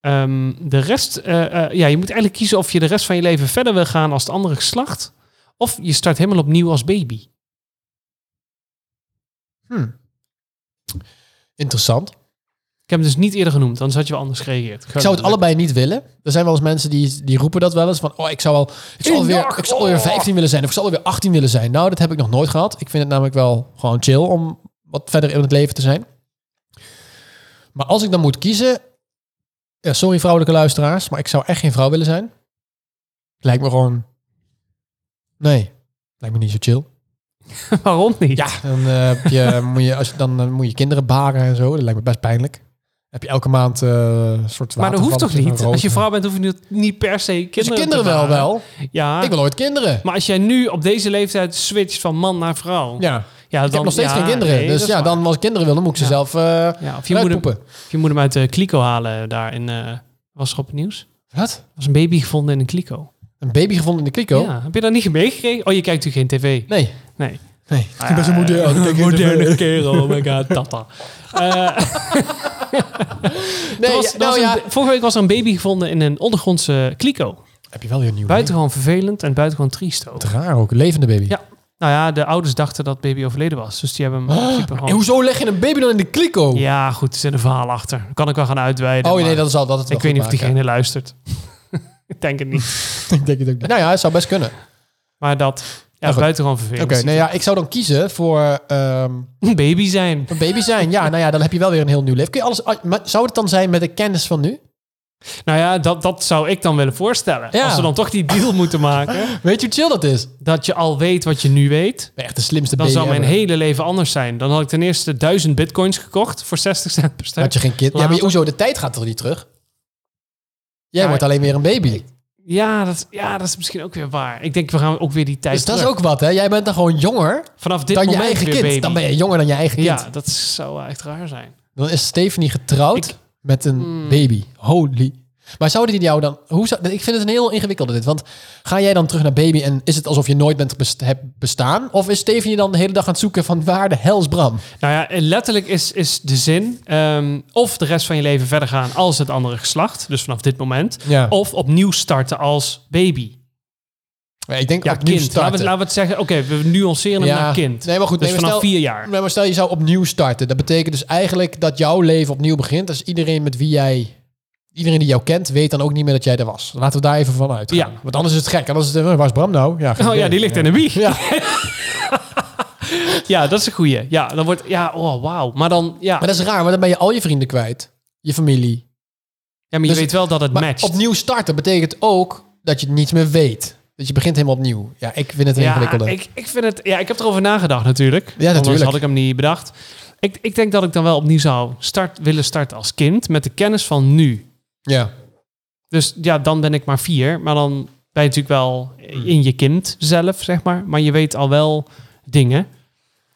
Ehm, de rest, eh, eh, ja, je moet eigenlijk kiezen of je de rest van je leven verder wil gaan als het andere geslacht. Of je start helemaal opnieuw als baby.
Interessant.
Ik heb hem dus niet eerder genoemd, anders had je wel anders gereageerd.
Ik zou het allebei niet willen. Er zijn wel eens mensen die, die roepen dat wel eens. Van, oh, ik zou al ik zou alweer, ik zou alweer 15 willen zijn. Of ik zou alweer 18 willen zijn. Nou, dat heb ik nog nooit gehad. Ik vind het namelijk wel gewoon chill om wat verder in het leven te zijn. Maar als ik dan moet kiezen... ja, sorry vrouwelijke luisteraars, maar ik zou echt geen vrouw willen zijn. Lijkt me gewoon... Nee, lijkt me niet zo chill.
(laughs) Waarom niet? Ah. (laughs)
Ja, dan, eh, heb je, moet, je, als, je- dan eh, moet je kinderen baren en zo. Dat lijkt me best pijnlijk. heb je elke maand eh, een soort
Maar dat hoeft toch
watervallen
niet?
en
Als je
roken.
vrouw bent, hoef je niet- niet per se kinderen
Als je kinderen
te
wel,
baren. Ah.
wel.
Ja,
Ik wil ooit kinderen.
maar als jij nu op deze leeftijd switcht van man naar vrouw...
Ja.
ja,
Ik heb nog steeds
ja,
geen kinderen.
nee, dat
dus
is
ja,
waar.
dan als ik kinderen wil, dan moet ik ze
Ja.
zelf eh
Ja, of je moet, hem,
uitpoepen.
of je moet hem uit de kliko halen daar in... eh, was er op het nieuws?
Wat?
Er was een baby gevonden in een kliko.
Een baby gevonden in de kliko?
Ja, heb je dat niet meegekregen? Oh, je kijkt natuurlijk geen tv.
Nee.
Nee.
Nee. Ah. Ik ben zo modern.
Eh,
Ik (laughs) kijk in de-
moderne kerel, oh my god,
(laughs)
tata. Eh,
Nee,
er
ja,
was- er was
nou ja.
een- vorige week was er een baby gevonden in een ondergrondse kliko.
Heb je wel weer een nieuw
Buitengewoon vervelend en buitengewoon triest ook.
leven? Wat Raar ook. een Levende baby.
Ja. Nou ja, de ouders dachten dat baby overleden was. Dus die hebben hem in
(gasps)
principe
En
gewoon...
hoezo leg je een baby dan in de kliko?
Ja, goed, er zit een verhaal achter. Dat kan ik wel gaan uitweiden.
oh nee,
maar
dat zal dat het wel
Ik weet niet of
goed maken.
diegene luistert. (laughs) ik denk het niet.
(laughs) ik denk het ook niet. Nou ja, het zou best kunnen.
Maar dat... Ja,
Nou goed.
buitengewoon
Oké,
vervelend.
nou ja, ik zou dan kiezen voor ehm,
Een baby zijn.
een baby zijn. Ja, nou ja, dan heb je wel weer een heel nieuw leven. Kun je alles, ah, maar zou het dan zijn met de kennis van nu?
Nou ja, dat, dat zou ik dan willen voorstellen.
Ja.
Als we dan toch die deal (laughs) moeten maken.
Weet je hoe chill dat is? Ik
Dat je al weet wat je nu weet.
ben echt de slimste
Dan
baby
zou mijn
ever.
hele leven anders zijn. Dan had ik ten eerste duizend bitcoins gekocht voor 60 cent per stuk.
Had je geen kind? Ja, maar
Later.
hoezo? De tijd gaat toch niet terug? Jij
Ja,
wordt alleen weer een baby.
ja, dat, ja, dat is misschien ook weer waar. Ik denk, we gaan ook weer die tijd
Dus dat is
terug.
ook wat, hè? Jij bent dan gewoon jonger
Vanaf dit
dan je
moment
eigen
weer
kind.
baby.
Dan ben je jonger dan je eigen kind.
Ja, dat zou wel echt raar zijn.
Dan is Stephanie getrouwd
Ik-
met een
Hmm.
baby. Holy. Maar zouden die jou dan... Hoe zou, ik vind het een heel ingewikkelde dit. Want ga jij dan terug naar baby en is het alsof je nooit bent best- hebt bestaan? Of is Stephanie dan de hele dag aan het zoeken van waar de hel is Bram?
Nou ja, en letterlijk is, is de zin... ehm, of de rest van je leven verder gaan als het andere geslacht. Dus vanaf dit moment.
Ja.
Of opnieuw starten als baby.
Ja, ik denk
Ja,
opnieuw
kind. Laten
starten.
we, laten we het zeggen. Oké, we nuanceren hem
Ja.
naar kind.
Nee, maar goed.
dus
nee, maar
vanaf
stel-
vier jaar.
Nee, maar stel je zou opnieuw starten. Dat betekent dus eigenlijk dat jouw leven opnieuw begint. Dus iedereen met wie jij... Iedereen die jou kent, weet dan ook niet meer dat jij er was. Laten we daar even van uitgaan.
Ja.
Want anders is het gek. Anders is het, eh, waar is Bram nou? Ja, geen
Oh ja,
idee.
die ligt in de wieg.
Ja.
Ja. dat is een goeie. (laughs) Ja, dan wordt... Ja, oh, wauw. Maar dan... Ja,
Maar dat is raar, want dan ben je al je vrienden kwijt. Je familie.
ja maar je
dus-
weet wel dat het
Maar
matcht.
opnieuw starten betekent ook dat je niets meer weet. Dat je begint helemaal opnieuw. Ja, ik vind het een
ja,
ingewikkelde.
ik, ik vind het... Ja, ik heb erover nagedacht natuurlijk. Anders
natuurlijk.
had ik hem niet bedacht. Ik, ik denk dat ik dan wel opnieuw zou start, willen starten als kind. Met de kennis van nu.
Ja.
Dus ja, dan ben ik maar vier. Maar dan ben je natuurlijk wel
Hmm.
in je kind zelf, zeg maar. Maar je weet al wel dingen.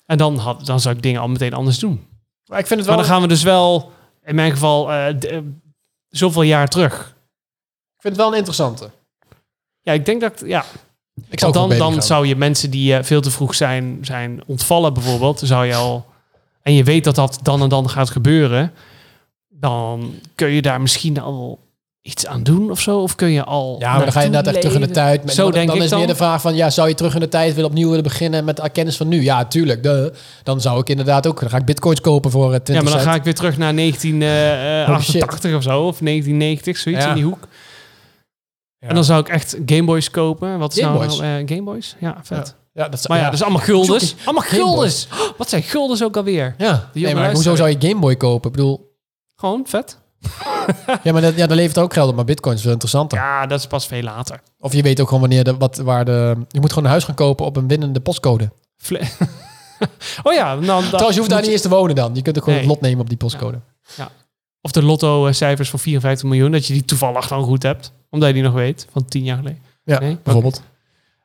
En dan, had, dan zou ik dingen al meteen anders doen.
Maar ik vind het
Maar
wel,
dan gaan we dus wel, in mijn geval, eh, d- eh, zoveel jaar terug.
ik vind het wel een interessante.
Ja, ik denk dat. Ja,
Ik
want
ook
dan,
voor baby
dan
gaan.
zou je mensen die eh, veel te vroeg zijn, zijn ontvallen, bijvoorbeeld. Dan zou je al. En je weet dat dat dan en dan gaat gebeuren. Dan kun je daar misschien al iets aan doen of zo. Of kun je al.
Ja, maar dan ga je inderdaad echt terug in de tijd. Maar
Zo
dan,
denk
dan
ik
is
dan.
meer de vraag van, ja, zou je terug in de tijd willen opnieuw willen beginnen met de kennis van nu? Ja, tuurlijk. duh. Dan zou ik inderdaad ook, dan ga ik bitcoins kopen voor eh, 20
Ja, maar dan
cent.
ga ik weer terug naar 1988 of zo. Of 1990, zoiets
Ja.
in die hoek.
Ja.
En dan zou ik echt Gameboys kopen. Wat is
Gameboys?
nou eh, Gameboys? Ja, vet.
Ja, dat zou,
Maar ja, dus-
ja.
dat is allemaal guldens. Allemaal
Gameboy.
guldens. Oh, Wat zijn guldens ook alweer?
Ja.
Die
Nee, maar
jongen
hoezo
luisteren.
zou je Game Boy kopen? Ik bedoel,
Gewoon vet.
ja, maar dat, ja, dan levert het ook geld op, maar bitcoins is wel interessanter.
Ja, dat is pas veel later.
Of je weet ook gewoon wanneer de, wat, waar de... Je moet gewoon een huis gaan kopen op een winnende postcode.
Fle- (laughs) oh ja, nou,
Trouwens,
dat
je hoeft daar
moet
niet eens te wonen dan. Je kunt ook gewoon
Nee.
het lot nemen op die postcode.
Of de lotto-cijfers van 54 miljoen, dat je die toevallig dan goed hebt. Omdat je die nog weet, van tien jaar geleden.
Ja,
Nee?
bijvoorbeeld.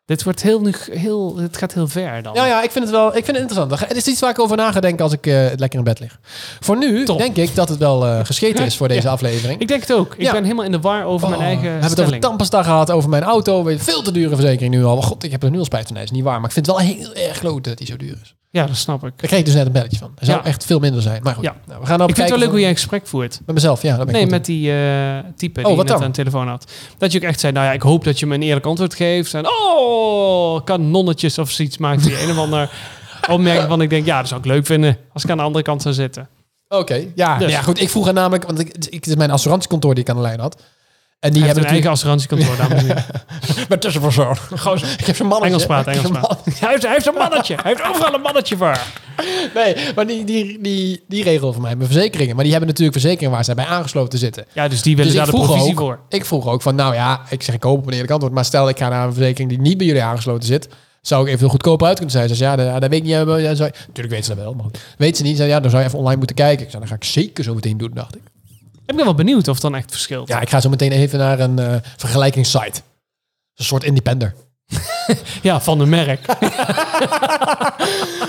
Dit wordt heel, nu- heel, het gaat heel ver dan.
Ja, ja, ik vind het wel ik vind het interessant. Het is iets waar ik over na ga denken als ik eh, lekker in bed lig. Voor nu
Top.
denk ik dat het wel eh, gescheten is voor deze aflevering.
Ik denk het ook. Ik
Ja.
ben helemaal in de war over
Oh,
mijn eigen
we hebben het over
stelling.
Tampesta gehad, over mijn auto. Weet- Veel te dure verzekering nu al. Maar god, ik heb er nu al spijt van. Nee, is niet waar. Maar ik vind het wel heel erg groot dat die zo duur is.
ja, dat snap ik.
Daar kreeg ik dus net een belletje van. Er zou
Ja.
echt veel minder zijn. Maar goed,
Ja.
nou, we gaan nou
Ik vind het
bekijken
wel leuk hoe
of-
jij een gesprek voert.
Met mezelf, ja. Daar ben ik
Nee,
goed in.
met die eh, type
Oh,
die je
wat
net
dan?
aan de telefoon had. Dat je ook echt zei, nou ja, ik hoop dat je me een eerlijk antwoord geeft. En oh, kanonnetjes of zoiets
(laughs)
maakt die een of ander opmerking van. Ik denk, ja, dat zou ik leuk vinden als ik aan de andere kant zou zitten.
Oké, ja.
Dus.
ja. Goed, ik vroeg haar namelijk... Want ik, ik, het is mijn assurantiekantoor die ik aan de lijn had. En die
Die hebben
hebben
een eigen assurantiekantoor, dames en (laughs) heren.
Met tussenverzorg. (laughs) Ik heb zo'n mannetje.
Engels praat,
Ik heb
Engels
een
praat. Hij heeft, hij heeft een mannetje. Hij heeft overal een mannetje voor.
man- Nee, maar die, die, die, die regelen voor mij mijn verzekeringen. Maar die hebben natuurlijk verzekeringen waar zij bij aangesloten zitten.
Ja, dus die willen
Dus ik
daar de
vroeg
provisie
ook-
voor.
Ik vroeg ook van, nou ja, ik zeg ik hoop op een eerlijk antwoord. Maar stel ik ga naar een verzekering die niet bij jullie aangesloten zit. Zou ik even goedkoper uit kunnen zijn? Ze zei, ja, dat, dat weet ik niet. Ja, zou je- Natuurlijk weten ze dat wel, maar goed. Weet ze niet. Ze zei, ja, dan zou je even online moeten kijken. Ik zei, dat ga ik zeker zo meteen doen, dacht ik.
Ik ben wel benieuwd of het dan echt verschilt.
Ja, ik ga zo meteen even naar een eh, vergelijkingssite. Een soort independer.
Ja, van een (laughs) merk.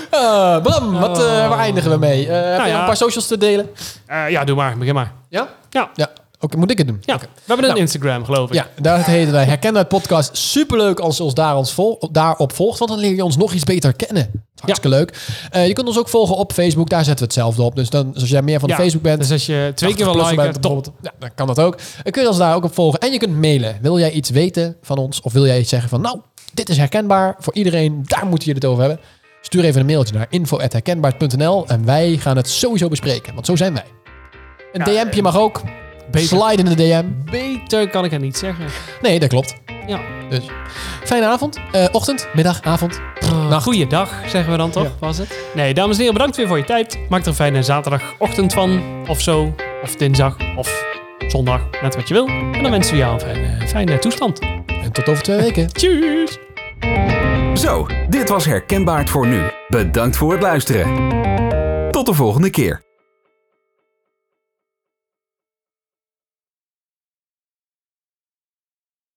Eh, Bram, wat, eh, waar eindigen we mee? Eh, heb je
Oh. Nou ja.
nog een paar socials te delen?
Eh, ja, doe maar. Begin maar.
Ja?
Ja.
Ja. Oké, moet ik het doen?
Ja,
Oké.
we hebben een
Nou.
Instagram, geloof ik.
Ja, daar heten wij Herkende het Podcast. Superleuk als je ons daar ons vol, daarop volgt, want dan leer je ons nog iets beter kennen. Hartstikke leuk. Eh, je kunt ons ook volgen op Facebook, daar zetten we hetzelfde op. Dus dan, als jij meer van de
Ja,
Facebook bent,
Dus als je twee keer
80
wil
plus
liken,
bent
top.
bijvoorbeeld, ja, dan kan dat ook. Dan kun je ons daar ook op volgen. En je kunt mailen. Wil jij iets weten van ons? Of wil jij iets zeggen van, nou, dit is herkenbaar voor iedereen. Daar moeten jullie het over hebben. Stuur even een mailtje naar info.herkenbaar.nl en wij gaan het sowieso bespreken. Want zo zijn wij. Een
Ja, eh,
DM'tje mag ook.
beter.
Slide in de DM.
Beter kan ik het niet zeggen.
Nee, dat klopt.
Ja.
Dus fijne avond, eh, ochtend, middag, avond.
Nou, goeiedag, zeggen we dan toch,
Ja.
was het? Nee, dames en heren, bedankt weer voor je tijd. Maak er een fijne zaterdagochtend van, of zo. Of dinsdag, of zondag, net wat je wil. En dan wensen we jou een fijne, fijne toestand.
En tot over twee weken.
Tjus!
Zo, dit was Herkenbaar voor nu. Bedankt voor het luisteren. Tot de volgende keer.